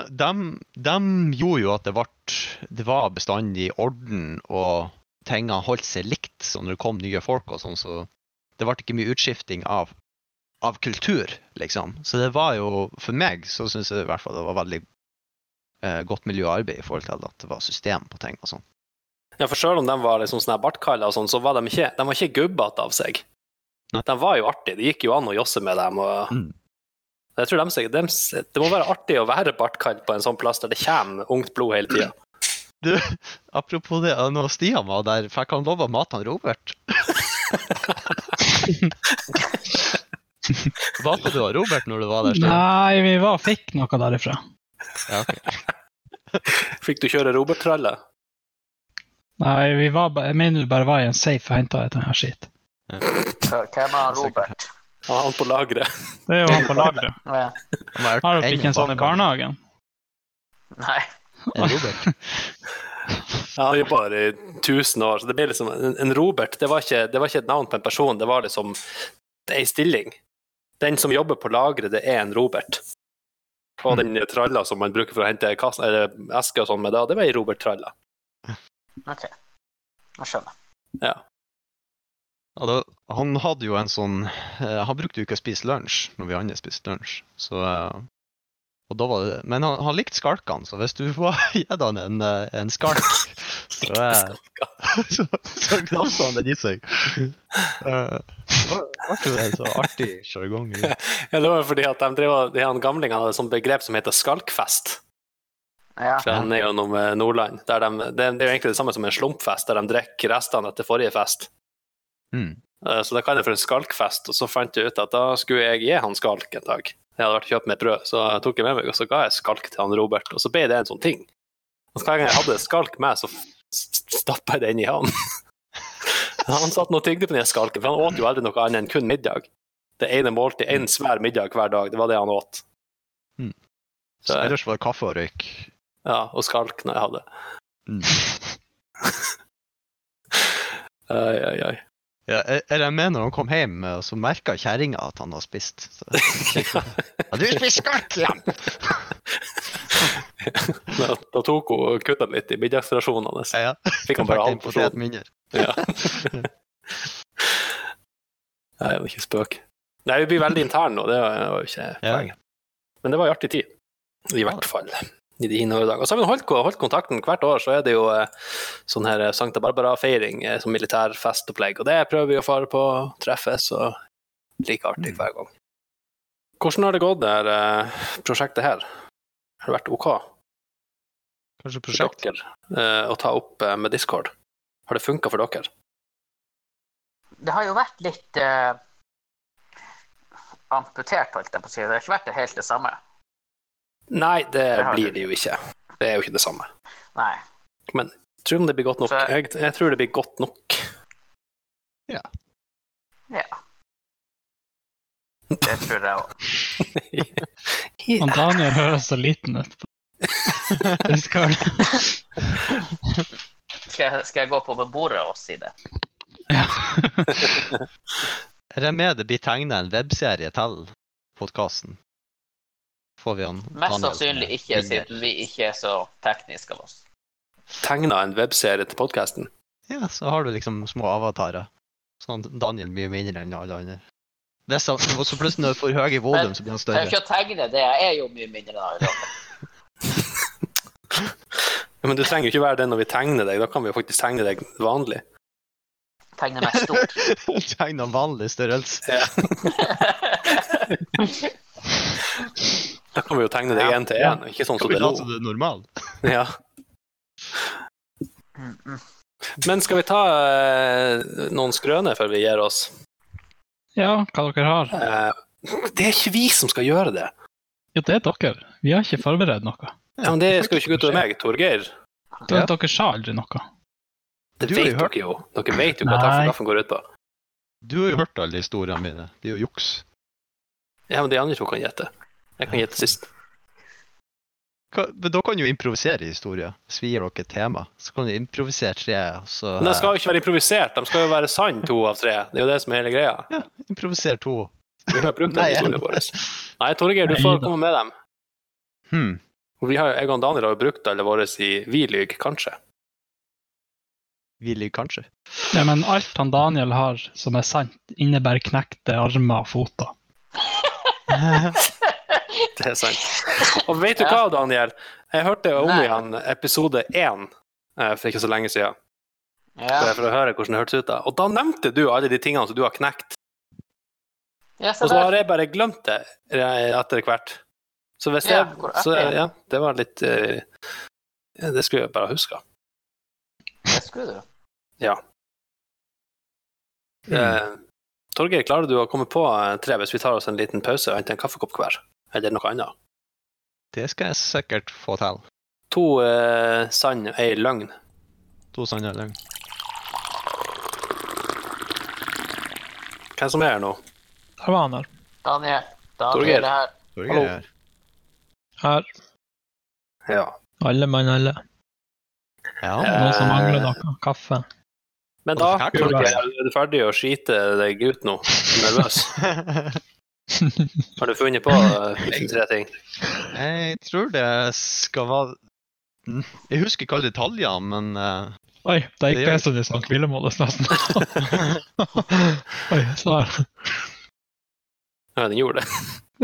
[SPEAKER 4] de, gjorde jo at det, vart, det var bestandig orden, og tingene holdt seg likt så når det kom nye folk og sånn, så det ble ikke mye utskifting av, av kultur, liksom. Så det var jo, for meg, så syns jeg i hvert fall det var veldig eh, godt miljøarbeid i forhold til at det var system på ting og sånn.
[SPEAKER 1] Ja, for selv om de var liksom sånne her bartkaller og sånn, så var de ikke, de var ikke gubbete av seg.
[SPEAKER 4] Nei.
[SPEAKER 1] De var jo artige. Det gikk jo an å josse med dem. Og...
[SPEAKER 4] Mm.
[SPEAKER 1] Jeg tror de, de, Det må være artig å være bartkall på en sånn plass der det kommer ungt blod hele tida.
[SPEAKER 4] Du, apropos det, når Stian var der, fikk han lov å mate han Robert? Mata du han Robert når du var der? Stian?
[SPEAKER 3] Nei, vi var og fikk noe derifra.
[SPEAKER 4] Ja, ok.
[SPEAKER 1] Fikk du kjøre Robert-tralle?
[SPEAKER 3] Nei, vi var, ba- jeg mener du bare var i en safe og henta et her skit.
[SPEAKER 2] Hvem er Robert?
[SPEAKER 1] Han har han på lageret.
[SPEAKER 3] Det er jo han på lageret.
[SPEAKER 2] Ja.
[SPEAKER 3] Har dere ikke en sånn i barnehagen?
[SPEAKER 2] Nei.
[SPEAKER 4] Robert.
[SPEAKER 1] Ja, Han jobba der i 1000 år, så det blir liksom En en Robert, det var ikke, det var ikke et navn på en person, det var liksom Det er ei stilling. Den som jobber på lageret, det er en Robert. Og den tralla som man bruker for å hente kassen, eller esker og sånn med da, det var ei Robert-tralla.
[SPEAKER 2] OK. Nå skjønner jeg.
[SPEAKER 4] Ja, da, han hadde jo en sånn eh, Han brukte jo ikke å spise lunsj når vi andre spiste lunsj, så eh, Og da var det, men han, han likte skalkene, så hvis du får gitt han en, eh, en skalk, så, eh, så, så knapser han den i seg. Eh, Det var var ikke det en så artig sjargong. i-
[SPEAKER 1] Ja, det var fordi at de drev, og- de her gamlingene hadde et sånt begrep som heter skalkfest.
[SPEAKER 2] Ja.
[SPEAKER 1] fra
[SPEAKER 4] Ja.
[SPEAKER 1] gjennom eh, Nordland. Der de, det, det er jo egentlig det samme som en slumpfest, der de drikker restene etter forrige fest.
[SPEAKER 4] Mm.
[SPEAKER 1] Eh, Så da kaller jeg det for en skalkfest, og så fant jeg ut at da skulle jeg gi han skalk en dag. Jeg hadde vært og kjøpt meg et brød, så jeg tok jeg med meg, og så ga jeg skalk til han Robert, og så ble det en sånn ting. Og så hver gang jeg hadde skalk med, så stappa jeg det inn i han. Han satt nå og tygde på den skalken, for han åt jo aldri noe annet enn kun middag. Det ene måltid, en svær middag hver dag, det var det han åt.
[SPEAKER 4] Mm. Så
[SPEAKER 1] Så,
[SPEAKER 4] ellers var det kaffe og røyk.
[SPEAKER 1] ja, og skalk når jeg hadde.
[SPEAKER 4] Mm.
[SPEAKER 1] Ai, ai, ai.
[SPEAKER 4] Ja, jeg, jeg mener når han kom hjem, eh, så merka kjerringa at han hadde spist. Så, har du spist skalk igjen?
[SPEAKER 1] Da, da tok hun og kutta litt i middagsrasjonen hans.
[SPEAKER 4] Ja,
[SPEAKER 1] Fikk han bare halv porsjon.
[SPEAKER 4] mindre.
[SPEAKER 1] Ja. Nei, det var ikke spøk. Nei, vi blir veldig interne nå, det var jo ikke
[SPEAKER 4] Ja.
[SPEAKER 1] poenget. Men det var en artig tid. I hvert fall. I de hine dager. Og så har vi holdt, ko- holdt kontakten. Hvert år så er det jo eh, sånn her eh, Sankta Barbara-feiring eh, som militær festopplegg, og det prøver vi å fare på, treffes og like artig hver gang. Hvordan har det gått, det her eh, prosjektet her? Har det vært OK?
[SPEAKER 4] Kanskje
[SPEAKER 1] for dere eh, å ta opp eh, med Discord? Har det funka for dere?
[SPEAKER 2] Det har jo vært litt eh, amputert, holdt jeg på å si. Det har ikke vært det helt det samme.
[SPEAKER 1] Nei, det
[SPEAKER 2] Det har
[SPEAKER 1] blir
[SPEAKER 2] det.
[SPEAKER 1] det jo ikke. Det er jo ikke det samme.
[SPEAKER 2] Nei.
[SPEAKER 1] Tror om det blir godt nok.
[SPEAKER 2] Så-
[SPEAKER 1] Jeg, jeg tror det blir godt nok.
[SPEAKER 2] Det tror jeg òg.
[SPEAKER 3] Han Daniel høres så liten ut. Discord.
[SPEAKER 2] Skal, jeg- skal jeg gå på bordet og si det?
[SPEAKER 3] Ja.
[SPEAKER 4] Er det med det blir tegna en webserie til podkasten? Får vi han
[SPEAKER 2] Mest
[SPEAKER 4] Daniel
[SPEAKER 2] sannsynlig
[SPEAKER 4] med
[SPEAKER 2] ikke,
[SPEAKER 4] bilder?
[SPEAKER 2] siden vi ikke er så tekniske av oss.
[SPEAKER 1] Tegna en webserie til podkasten.
[SPEAKER 4] Ja, så har du liksom små avatarer. Sånn at Daniel blir mindre enn alle andre. Det er sant, Og så plutselig når du får høy i volum, så blir han
[SPEAKER 2] Jeg er jo
[SPEAKER 4] større.
[SPEAKER 2] ikke å tegne det, jeg er jo mye mindre enn alle andre.
[SPEAKER 1] Men du trenger jo ikke være det når vi tegner deg. Da kan vi jo faktisk tegne deg vanlig.
[SPEAKER 2] Tegner meg stort.
[SPEAKER 4] Tegna vanlig størrelse.
[SPEAKER 1] Da kan vi jo tegne deg
[SPEAKER 2] Ja.
[SPEAKER 1] én til én, ikke sånn som
[SPEAKER 4] Kan vi
[SPEAKER 1] det er nå.
[SPEAKER 4] late som det er normalt?
[SPEAKER 1] Ja.
[SPEAKER 2] Mm, mm.
[SPEAKER 1] Men skal vi ta eh, noen skrøner før vi gir oss?
[SPEAKER 3] ja, hva dere har?
[SPEAKER 1] Eh, det er ikke vi som skal gjøre det.
[SPEAKER 3] Jo, det er dere. Vi har ikke forberedt noe.
[SPEAKER 1] Ja, men det skal jo ikke gå utover meg, Torgeir.
[SPEAKER 3] Det er at Dere sa aldri noe.
[SPEAKER 1] Det
[SPEAKER 4] Du har
[SPEAKER 1] vet
[SPEAKER 4] jo hørt-
[SPEAKER 1] dere jo. Dere vet jo hva
[SPEAKER 3] Nei.
[SPEAKER 1] taffelkaffen går ut på.
[SPEAKER 4] Du har jo hørt alle historiene mine. Det er jo juks.
[SPEAKER 1] Ja, men de andre to kan gjette. Jeg kan gjette sist.
[SPEAKER 4] Hva, men da kan du jo improvisere historier. Hvis vi gir dere et tema, så kan du improvisere tre. og Så,
[SPEAKER 1] Men de skal jo ikke være improvisert, de skal jo være sann, to av tre. Det er jo det som er hele greia.
[SPEAKER 4] eh, improvisere to.
[SPEAKER 1] Vi har brukt den
[SPEAKER 4] Nei,
[SPEAKER 1] historien vår. Nei, Torgeir, du får komme med dem.
[SPEAKER 4] Hmm.
[SPEAKER 1] Vi har, jo- jeg og Daniel har jo brukt alle våre i Vi lyver, kanskje.
[SPEAKER 4] Vi ligger kanskje.
[SPEAKER 3] Ja, men alt han Daniel har som er sant, innebærer knekte armer og foter.
[SPEAKER 1] Det er sant. Og vet du hva, Daniel? Jeg hørte om
[SPEAKER 2] Nei.
[SPEAKER 1] igjen episode én eh, for ikke så lenge siden,
[SPEAKER 2] Ja.
[SPEAKER 1] bare for å høre hvordan det hørtes ut. da. Og da nevnte du alle de tingene som du har knekt,
[SPEAKER 2] ja, så
[SPEAKER 1] og så
[SPEAKER 2] der.
[SPEAKER 1] har jeg bare glemt det eh, etter hvert. Så hvis
[SPEAKER 2] Ja,
[SPEAKER 1] jeg
[SPEAKER 2] hvor
[SPEAKER 1] så,
[SPEAKER 2] artig.
[SPEAKER 1] Ja, det var litt eh, Det skulle jeg bare huske.
[SPEAKER 2] Det skulle du.
[SPEAKER 4] Mm.
[SPEAKER 1] Eh, Torgeir, klarer du å komme på eh, tre hvis vi tar oss en liten pause og henter en kaffekopp hver? Eller noe annet?
[SPEAKER 4] Det skal jeg sikkert få til.
[SPEAKER 1] To eh, sann og ei løgn.
[SPEAKER 4] To sanne løgn.
[SPEAKER 1] Hvem som er her nå?
[SPEAKER 3] Der var han her.
[SPEAKER 2] Daniel,
[SPEAKER 1] Torgeir.
[SPEAKER 2] Daniel er her.
[SPEAKER 4] Torgeir
[SPEAKER 1] Hallo.
[SPEAKER 4] her.
[SPEAKER 3] Her.
[SPEAKER 1] Ja.
[SPEAKER 3] Alle mann alle.
[SPEAKER 4] Ja.
[SPEAKER 3] Noen som mangler noe. Kaffe.
[SPEAKER 1] Men da,
[SPEAKER 4] Var det fælt,
[SPEAKER 1] Torgeir,
[SPEAKER 4] Torgeir?
[SPEAKER 1] er du ferdig å skite deg ut nå? Er du Nervøs? Har du funnet på eh, tre ting?
[SPEAKER 4] jeg tror det skal være Mm, Jeg husker ikke alle detaljene, men eh,
[SPEAKER 3] Oi, det
[SPEAKER 4] Det
[SPEAKER 3] gikk
[SPEAKER 4] gjør-
[SPEAKER 3] jeg som i sånn hvilemodus nesten. Oi, svar.
[SPEAKER 1] Ja, den gjorde det.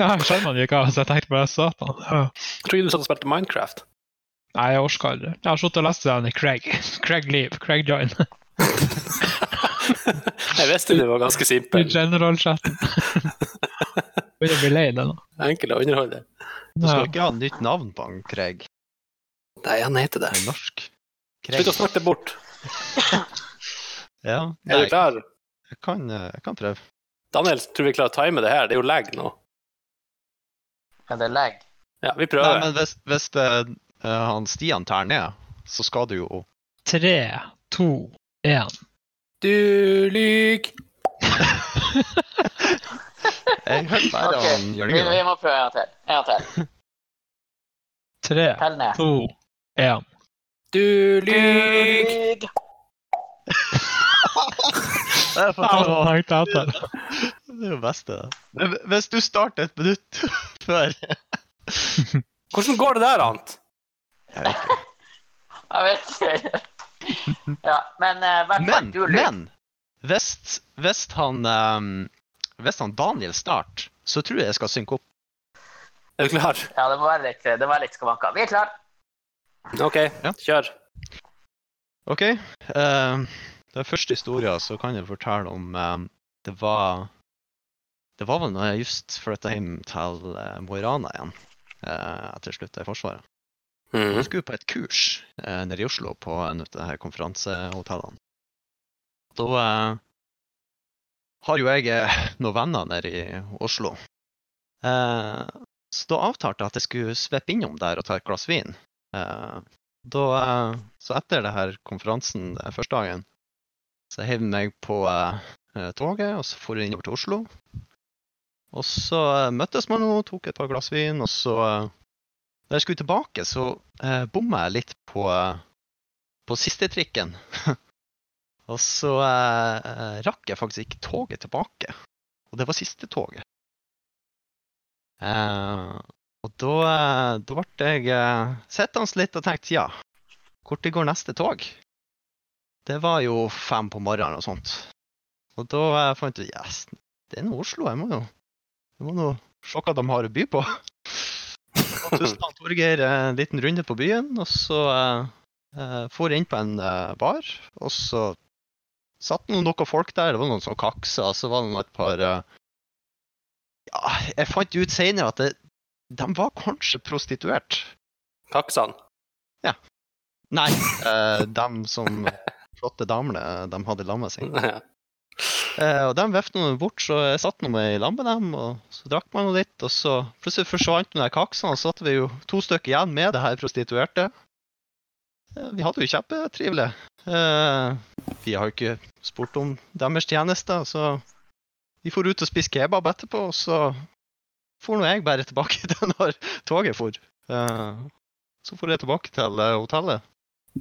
[SPEAKER 3] Ja, skjermene gikk av, så jeg tenkte bare satan. ja.
[SPEAKER 1] Jeg tror du satt og spilte Minecraft.
[SPEAKER 3] Nei, jeg orker aldri. Jeg har sittet og lest den i Craig. Craig Leave. Craig Join.
[SPEAKER 1] Jeg visste det var ganske
[SPEAKER 3] I
[SPEAKER 1] simpel.
[SPEAKER 3] general-chatten. Begynner å bli lei det nå.
[SPEAKER 1] Enkel å underholde.
[SPEAKER 4] Du
[SPEAKER 3] Ja.
[SPEAKER 4] skal ikke ha nytt navn på han, Craig.
[SPEAKER 1] Nei, han heter det.
[SPEAKER 4] Det er norsk.
[SPEAKER 1] Slutt å snakke det bort.
[SPEAKER 4] Ja,
[SPEAKER 1] Er
[SPEAKER 4] nei,
[SPEAKER 1] du klar?
[SPEAKER 4] jeg kan, eh, jeg kan prøve.
[SPEAKER 1] Daniel, tror vi klarer å time det her. Det er jo lag nå.
[SPEAKER 2] Men det er lag.
[SPEAKER 1] Ja, vi
[SPEAKER 4] Nei,
[SPEAKER 1] prøver.
[SPEAKER 4] men hvis, hvis eh, han Stian tar ned, så skal du jo
[SPEAKER 3] Tre, to, én.
[SPEAKER 1] Du lyg.
[SPEAKER 4] Jeg hørte bare
[SPEAKER 2] Ok,
[SPEAKER 4] han
[SPEAKER 2] Vi,
[SPEAKER 4] gjør det.
[SPEAKER 2] vi må prøve en gang til. En gang til.
[SPEAKER 3] Tre,
[SPEAKER 2] Tell ned.
[SPEAKER 3] to, én.
[SPEAKER 1] Du lyg.
[SPEAKER 2] Lyg.
[SPEAKER 4] Det er
[SPEAKER 3] Faen,
[SPEAKER 4] fantastisk.
[SPEAKER 3] jeg tenkte etter.
[SPEAKER 4] Det er jo beste. Men Hvis du starter et minutt før
[SPEAKER 1] Hvordan går det der, Ant?
[SPEAKER 4] Jeg vet ikke.
[SPEAKER 2] Jeg vet ikke. Ja, men eh, i hvert fall
[SPEAKER 4] Men,
[SPEAKER 2] du lyg.
[SPEAKER 4] men hvis, hvis han ehm, Hvis han Daniel starter, så tror jeg jeg skal synke opp.
[SPEAKER 1] Er du klar?
[SPEAKER 2] Ja, det må være litt, det må være litt skavanker. Vi er klare.
[SPEAKER 1] OK,
[SPEAKER 4] Ja.
[SPEAKER 1] kjør.
[SPEAKER 4] OK. Uh, den første historien så kan jeg fortelle om ehm, Det var Det var vel når jeg just flytta hjem til eh, Mo i Rana igjen eh, etter slutta i Forsvaret.
[SPEAKER 1] Mhm.
[SPEAKER 4] Jeg skulle på et kurs eh, nede i Oslo på en av de her konferansehotellene. Da eh, har jo jeg eh, noen venner nede i Oslo. Eh, så da avtalte jeg at jeg skulle sveppe innom der og ta et glass vin. Eh, da, eh, så etter det her konferansen den første dagen, så heiv jeg meg på eh, eh, toget, og så for jeg innover til Oslo. Og så eh, møttes man og tok et par glass vin, og så eh, da jeg skulle tilbake, så eh, bomma jeg litt på, eh, på siste trikken. og så eh, eh, rakk jeg faktisk ikke toget tilbake. Og det var siste toget. Eh, og da, eh, da ble jeg eh, sittende litt og tenkte ja, når går neste tog? Det var jo fem på morgenen og sånt. Og da eh, fant jeg ut yes, det er nå Oslo, jeg må jo jeg må nå se hva de har å by på. Så tok Torgeir eh, en liten runde på byen, og så eh, eh, for inn på en eh, bar. Og så satt noen, noen folk der, det var noen som kaksa, og så var det noen et par eh, Ja, jeg fant ut seinere at det, de var kanskje prostituert.
[SPEAKER 1] Kaksan.
[SPEAKER 4] Nei, eh, de som flotte damene de hadde lammet seg.
[SPEAKER 1] Ja.
[SPEAKER 4] Eh, og de vifta nå bort, så jeg satt nå med i lag med dem, og så drakk man nå litt, og så plutselig forsvant den der kaksen, og så satt vi jo to stykker igjen med det her prostituerte. Eh, vi hadde jo kjempetrivelig. Eh, vi har jo ikke spurt om deres tjenester, så vi for ut og spiste kebab etterpå, og så for nå jeg bare tilbake til når toget for. Eh, så for jeg tilbake til eh, hotellet.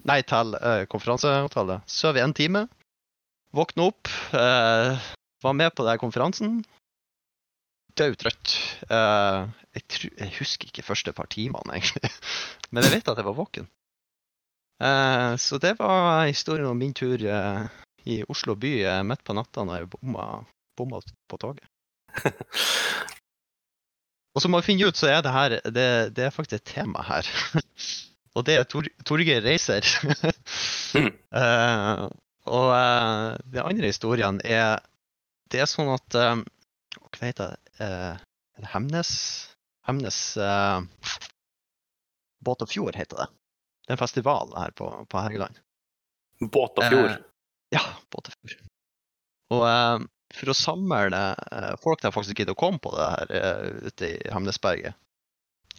[SPEAKER 4] Nei, til eh, konferansehotellet. Sov i en time. Våkne opp, eh, var med på den konferansen. Dødtrøtt. Eh, jeg, tru, jeg husker ikke første par timene, egentlig. Men jeg vet at jeg var våken. Eh, så det var historien om min tur eh, i Oslo by eh, midt på natta når jeg bomma, bomma på toget. Og som man finner ut, så er det her Det, det er faktisk et tema her. og det er Tor, Torgeir Reiser. Eh, og eh, den andre historien er Det er sånn at eh, Hva heter det? Eh, er det Hemnes Hemnes eh, Båt og fjord heter det. Det er en festival her på, på Helgeland.
[SPEAKER 1] Båt og fjord.
[SPEAKER 4] Eh, Ja, båt og fjord. Og eh, for å samle eh, folk der faktisk gidder å komme på det her eh, ute i Hemnesberget,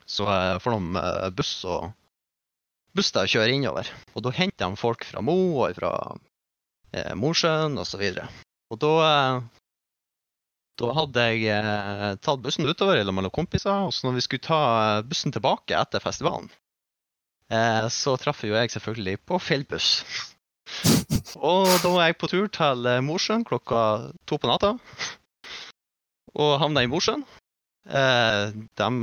[SPEAKER 4] så eh, får de eh, buss og buss der og kjører innover. Og da henter de folk fra Mo og fra eh, Mosjøen osv. Og da eh, da hadde jeg eh, tatt bussen utover eller mellom kompiser, og så når vi skulle ta eh, bussen tilbake etter festivalen, eh, så traff jo jeg selvfølgelig på feil buss. Og da var jeg på tur til eh, Mosjøen klokka to på natta. Og havna i Mosjøen. Eh, dem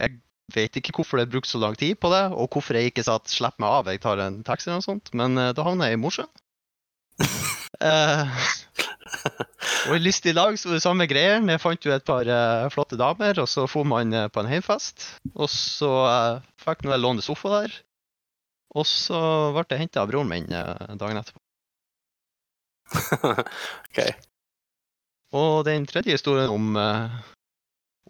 [SPEAKER 4] Jeg vet ikke hvorfor det er brukt så lang tid på det, og hvorfor jeg ikke sa at 'slipp meg av, jeg tar en taxi' eller noe sånt, men eh, da havna jeg i Mosjøen. Eh, Og i Lyst i lag så var det samme greien. Jeg fant jo et par eh, flotte damer, og så for man eh, på en heimfest. Og så eh, fikk nå jeg låne sofa der. Og så ble jeg henta av broren min eh, dagen etterpå. Og den tredje historien om, eh,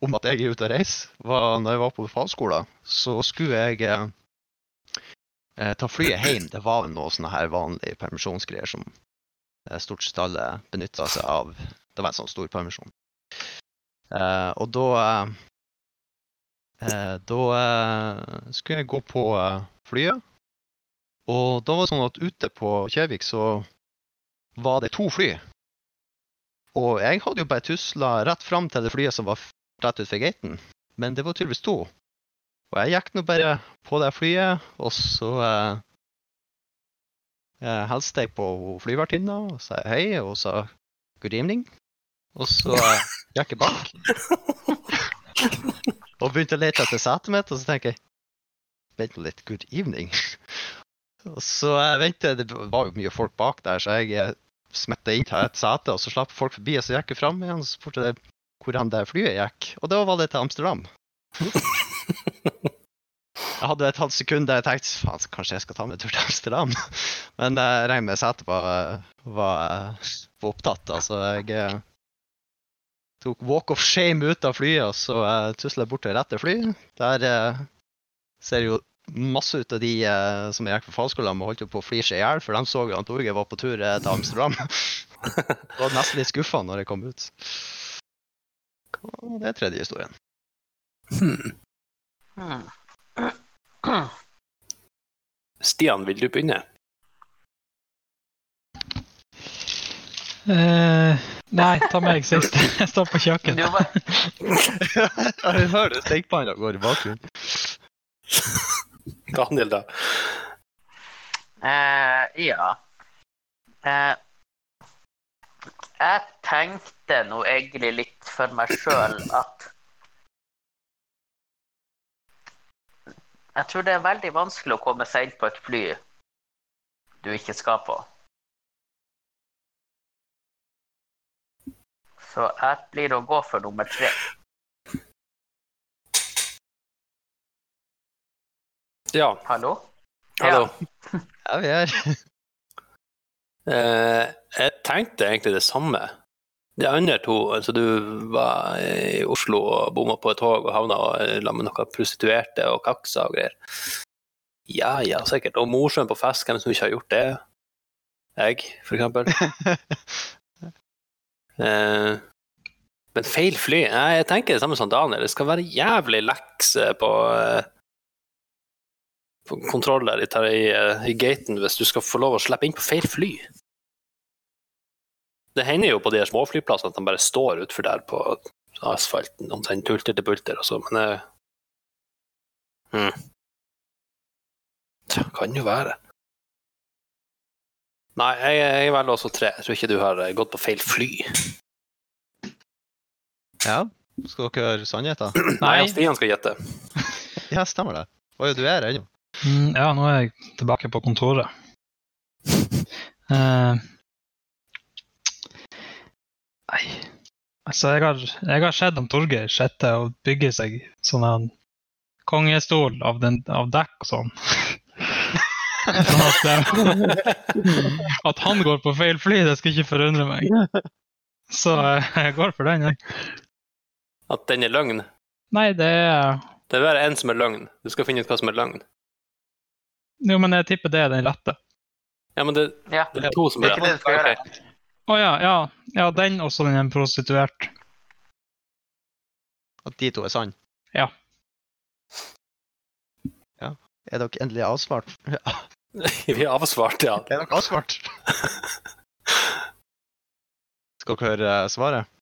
[SPEAKER 4] om at jeg er ute og reiser, var når jeg var på befalsskolen. Så skulle jeg eh, eh, ta flyet hjem. Det var noe sånn her vanlig permisjonsgreier som eh, stort sett alle benytta seg av. Det var en sånn stor permisjon. Eh, og da eh, eh, Da eh, skulle jeg gå på eh, flyet. Og da var det sånn at ute på Kjevik så var det to fly. Og jeg hadde jo bare tusla rett fram til det flyet som var f- rett utenfor gaten. Men det var tydeligvis to. Og jeg gikk nå bare på det flyet, og så eh, eh, hilste jeg på hun flyvertinna og sa hei, og hun sa good evening. Og så eh, gikk jeg bak og begynte å lete etter setet mitt, og så tenker jeg Vent nå litt, good evening? Og så eh, venter jeg, det var jo mye folk bak der, så jeg eh, smette inn til et sete, og så slapp folk forbi, og så gikk jeg fram igjen, og så spurte jeg hvor han der flyet gikk, og da var det til Amsterdam. Jeg hadde et halvt sekund der jeg tenkte faen, så kanskje jeg skal ta meg en tur til Amsterdam. Men jeg regner med setet var, var, eh, var opptatt. Altså, jeg eh, tok walk of shame ut av flyet, og så eh, tusla jeg bort til rette fly. Der eh, ser jo masse ut av de eh, som jeg gikk på fagskolen med, holdt jo på å flire seg i hjel, for de så jo at Torgeir var på tur eh, til Amsterdam. Jeg var nesten litt skuffa når jeg kom ut. Og det er tredje historien.
[SPEAKER 1] Hmm.
[SPEAKER 2] Hmm.
[SPEAKER 1] Stian, vil du begynne?
[SPEAKER 3] Eh, nei, ta meg sist. Jeg står på
[SPEAKER 2] Du,
[SPEAKER 3] kjøkkenet.
[SPEAKER 2] var,
[SPEAKER 4] jeg hører stekepanna går i bakgrunnen.
[SPEAKER 1] Daniel, da.
[SPEAKER 2] eh, ja. Eh, jeg tenkte nå egentlig litt for meg sjøl at Jeg tror det er veldig vanskelig å komme seg inn på et fly du ikke skal på. Så jeg blir å gå for nummer tre.
[SPEAKER 1] Ja,
[SPEAKER 2] Hallo?
[SPEAKER 1] hallo.
[SPEAKER 2] Ja.
[SPEAKER 4] Ja, vi er
[SPEAKER 1] Eh, jeg tenkte egentlig det samme. De andre to, altså du var i Oslo og bomma på et tog og havna eh, la med noen prostituerte og kakser og greier. Ja ja, sikkert. Og Mosjøen på fest, hvem som ikke har gjort det? Jeg, for eksempel. Eh, men feil fly? Nei, jeg tenker det samme som Daniel. Det skal være jævlig lekse på, eh, på kontroller i, tar- i, eh, i gaten hvis du skal få lov å slippe inn på feil fly. Det hender jo på de her småflyplassene at de bare står utfor der på asfalten omtrent pulter til pulter og så, men eh, hm. Tja, kan jo være. Nei, jeg, jeg velger også tre. Jeg tror ikke du har eh, gått på feil fly.
[SPEAKER 4] Ja, skal dere høre sannheten?
[SPEAKER 1] Nei, altså,
[SPEAKER 3] Nei.
[SPEAKER 1] Stian skal gjette.
[SPEAKER 4] Ja, stemmer det. Å ja, du er her ennå?
[SPEAKER 3] Mm, ja, nå er jeg tilbake på kontoret. Eh, nei Altså, jeg har, jeg har sett om Torgeir sitter og bygger seg sånn en kongestol av, den, av dekk og sånn. sånn at, eh, at han går på feil fly, det skal ikke forundre meg. Så eh, jeg går for den, jeg.
[SPEAKER 1] At den er løgn.
[SPEAKER 3] Nei, det er
[SPEAKER 1] Det er bare en som er løgn. Du skal finne ut hva som er løgn.
[SPEAKER 3] Jo, men jeg tipper det er den rette.
[SPEAKER 1] Ja, men det,
[SPEAKER 2] Ja.
[SPEAKER 1] det er to som
[SPEAKER 2] Det er
[SPEAKER 1] er
[SPEAKER 2] ikke det du skal gjøre.
[SPEAKER 3] Å ja, ja. Ja, den og så den er prostituert.
[SPEAKER 4] At de to er sann?
[SPEAKER 3] Ja.
[SPEAKER 4] Ja. Er dere endelig avsvart? Ja,
[SPEAKER 1] Vi har avsvart, ja.
[SPEAKER 4] er dere avsvart? Skal dere høre eh, svaret?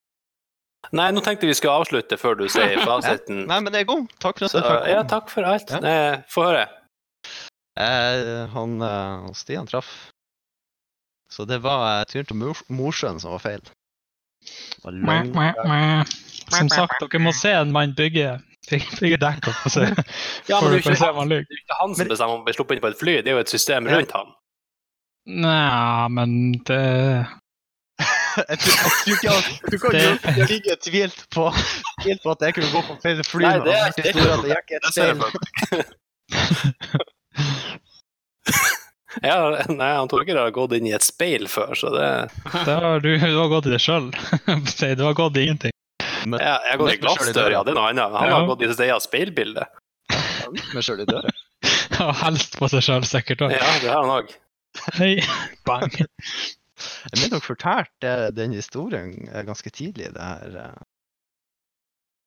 [SPEAKER 1] Nei, nå tenkte vi skulle avslutte før du sier fasiten.
[SPEAKER 4] Nei, men det er god. Takk for at
[SPEAKER 1] Så,
[SPEAKER 4] dere kom.
[SPEAKER 1] ja, takk for alt.
[SPEAKER 4] Ja.
[SPEAKER 1] Nei, Få høre.
[SPEAKER 4] Eh, han eh, Stian traff. Så det var eh, turen til Mos- Mosjøen som var feil. Det var
[SPEAKER 3] Mæ,
[SPEAKER 4] løgn.
[SPEAKER 3] mæ, mæ. Som sagt, dere må se en mann bygge, bygge dekk opp og se
[SPEAKER 1] Ja,
[SPEAKER 3] for
[SPEAKER 1] men det er jo
[SPEAKER 3] å se om
[SPEAKER 1] ikke,
[SPEAKER 3] han lyver.
[SPEAKER 1] det er ikke han som
[SPEAKER 4] Men-
[SPEAKER 1] bestemmer om han blir sluppet inn på et fly, det er jo et system rundt han.
[SPEAKER 3] Nja, men det
[SPEAKER 4] Jeg tror jeg tror ikke at- du kan jo ikke ligge tvilt på, tvilt på at jeg kunne gå på feil fly
[SPEAKER 1] Nei,
[SPEAKER 4] nå.
[SPEAKER 1] det er-
[SPEAKER 4] Hvis jeg tror at jeg gikk et
[SPEAKER 5] Det ser jeg
[SPEAKER 4] feil-
[SPEAKER 5] for meg.
[SPEAKER 1] Jeg har, nei, han tror ikke det har gått inn i et speil før, så det
[SPEAKER 3] Det har du, du har gått i det sjøl. Du har gått i ingenting.
[SPEAKER 1] Jeg, jeg går i
[SPEAKER 4] Nick var selv i
[SPEAKER 1] glassdør,
[SPEAKER 4] døra.
[SPEAKER 1] ja. Det er noe annet. Han har
[SPEAKER 3] Ja.
[SPEAKER 1] gått i stedet speilbilde.
[SPEAKER 4] Jeg gikk meg selv i døra.
[SPEAKER 3] Og helst på seg sjøl, sikkert òg.
[SPEAKER 1] Ja, det har han òg.
[SPEAKER 3] Hei, bang.
[SPEAKER 4] Jeg mener dere fortalte eh, den historien eh, ganske tidlig i det her eh,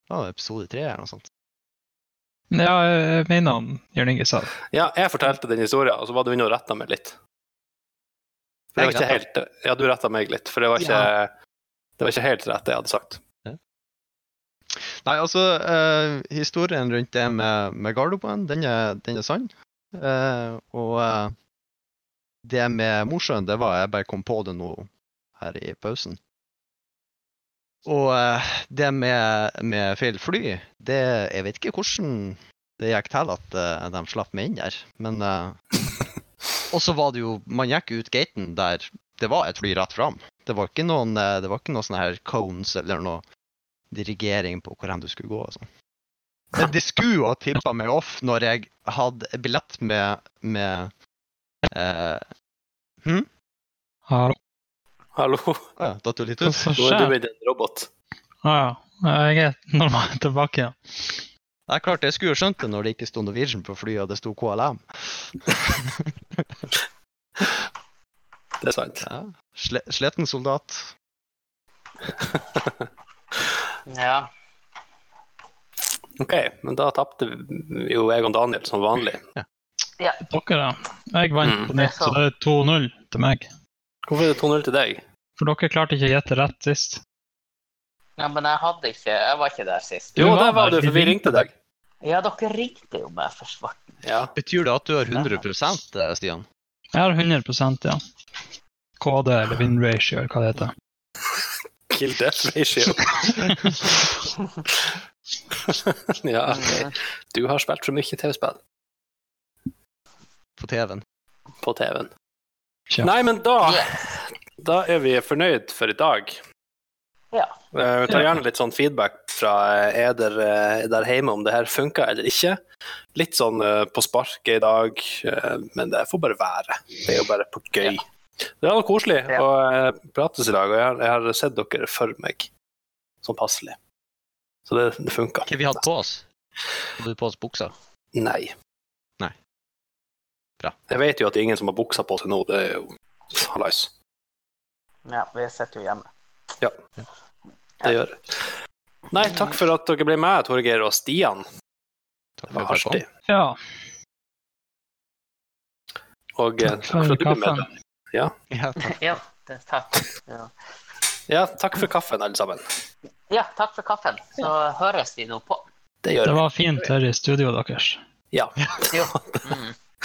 [SPEAKER 4] ja, episode tre eller noe sånt.
[SPEAKER 3] Ja, jeg mener han Jørn Inge sa det.
[SPEAKER 1] Ja, jeg fortalte den historien, og så var du inne og retta meg litt. For det
[SPEAKER 4] Jeg
[SPEAKER 1] var ikke helt Ja, du retta meg litt, for det var ikke Det var ikke helt rett, det jeg hadde sagt.
[SPEAKER 4] Nei, altså, eh, historien rundt det med, med Gardermoen, den er, den er sann. Eh, og eh, det med Mosjøen, det var jeg bare kom på det nå her i pausen. Og eh, det med, med feil fly, det Jeg vet ikke hvordan det gikk til at eh, de slapp meg inn der, men eh, Og så var det jo Man gikk ut gaten der det var et fly rett fram. Det var ikke noen, eh, det var ikke noen sånne her cones eller noe dirigering på hvor hen du skulle gå og sånn. Men de skulle jo ha tippa meg off når jeg hadde billett med, med eh,
[SPEAKER 3] Hallo,
[SPEAKER 1] Hallo,
[SPEAKER 4] ja,
[SPEAKER 3] hva
[SPEAKER 4] Dato Litus.
[SPEAKER 3] som
[SPEAKER 1] nå er du
[SPEAKER 3] skjer?
[SPEAKER 1] blitt en robot.
[SPEAKER 3] Ah, ja. Jeg er normalt tilbake igjen.
[SPEAKER 4] Det er klart, jeg skulle jo skjønt det når det ikke sto Norwegian på flyet og det sto KLM.
[SPEAKER 1] Det er sant.
[SPEAKER 4] Ja. Sle, sliten soldat.
[SPEAKER 2] Ja.
[SPEAKER 1] OK, men da tapte jo jeg og Daniel som vanlig.
[SPEAKER 3] Dere, da. Jeg vant
[SPEAKER 1] Mm.
[SPEAKER 3] på nytt, så det er 2-0 til meg.
[SPEAKER 1] Hvorfor er det 2-0 til deg?
[SPEAKER 3] For dere klarte ikke å gjette rett sist.
[SPEAKER 2] ja, men jeg hadde ikke Jeg var ikke der sist.
[SPEAKER 3] Du
[SPEAKER 1] Jo,
[SPEAKER 3] var
[SPEAKER 1] der var du,
[SPEAKER 3] der.
[SPEAKER 1] for vi ringte deg.
[SPEAKER 2] Ja, dere ringte jo meg for svart.
[SPEAKER 1] Ja.
[SPEAKER 4] Betyr det at du har 100 eh, Stian?
[SPEAKER 3] Jeg har 100 ja. KD eller win ratio, eller hva det heter.
[SPEAKER 1] Kill death ratio. ja, ok. Du har spilt for mye TV-spill
[SPEAKER 4] På TV-en.
[SPEAKER 1] på TV-en.
[SPEAKER 3] Kjeft.
[SPEAKER 1] Nei, men da
[SPEAKER 2] Yes.
[SPEAKER 1] Da er vi fornøyd for i dag.
[SPEAKER 2] Ja.
[SPEAKER 1] Eh, Vi tar gjerne litt sånn feedback fra eh, eder eh, der hjemme om det her funker eller ikke. Litt sånn eh, på sparket i dag, eh, men det får bare være. Det er jo bare på gøy. Det var koselig
[SPEAKER 2] Ja.
[SPEAKER 1] å eh, prates i dag, og jeg har, jeg har sett dere for meg sånn passelig. Så det, det funka.
[SPEAKER 4] Hva vi hadde på oss? Hadde vi på oss buksa?
[SPEAKER 1] Nei.
[SPEAKER 4] Nei. Bra.
[SPEAKER 1] Jeg vet jo at det er ingen som har buksa på seg nå, det er jo hallais.
[SPEAKER 2] Ja, vi sitter jo hjemme.
[SPEAKER 1] Det gjør jeg. Nei, takk for at dere ble med, Torgeir og Stian.
[SPEAKER 4] Takk
[SPEAKER 1] Det var
[SPEAKER 4] for at du
[SPEAKER 1] artig.
[SPEAKER 4] kom.
[SPEAKER 3] Ja,
[SPEAKER 1] Og eh,
[SPEAKER 3] takk for
[SPEAKER 1] at du ble med.
[SPEAKER 3] kaffen.
[SPEAKER 4] Ja, takk.
[SPEAKER 2] Ja, det, takk. Ja.
[SPEAKER 1] Ja, takk for kaffen, alle sammen.
[SPEAKER 2] ja, takk for kaffen. Så høres vi nå på.
[SPEAKER 1] Det
[SPEAKER 3] Det
[SPEAKER 1] gjør vi.
[SPEAKER 3] var fint her i studioet deres.
[SPEAKER 2] Jo. Mm.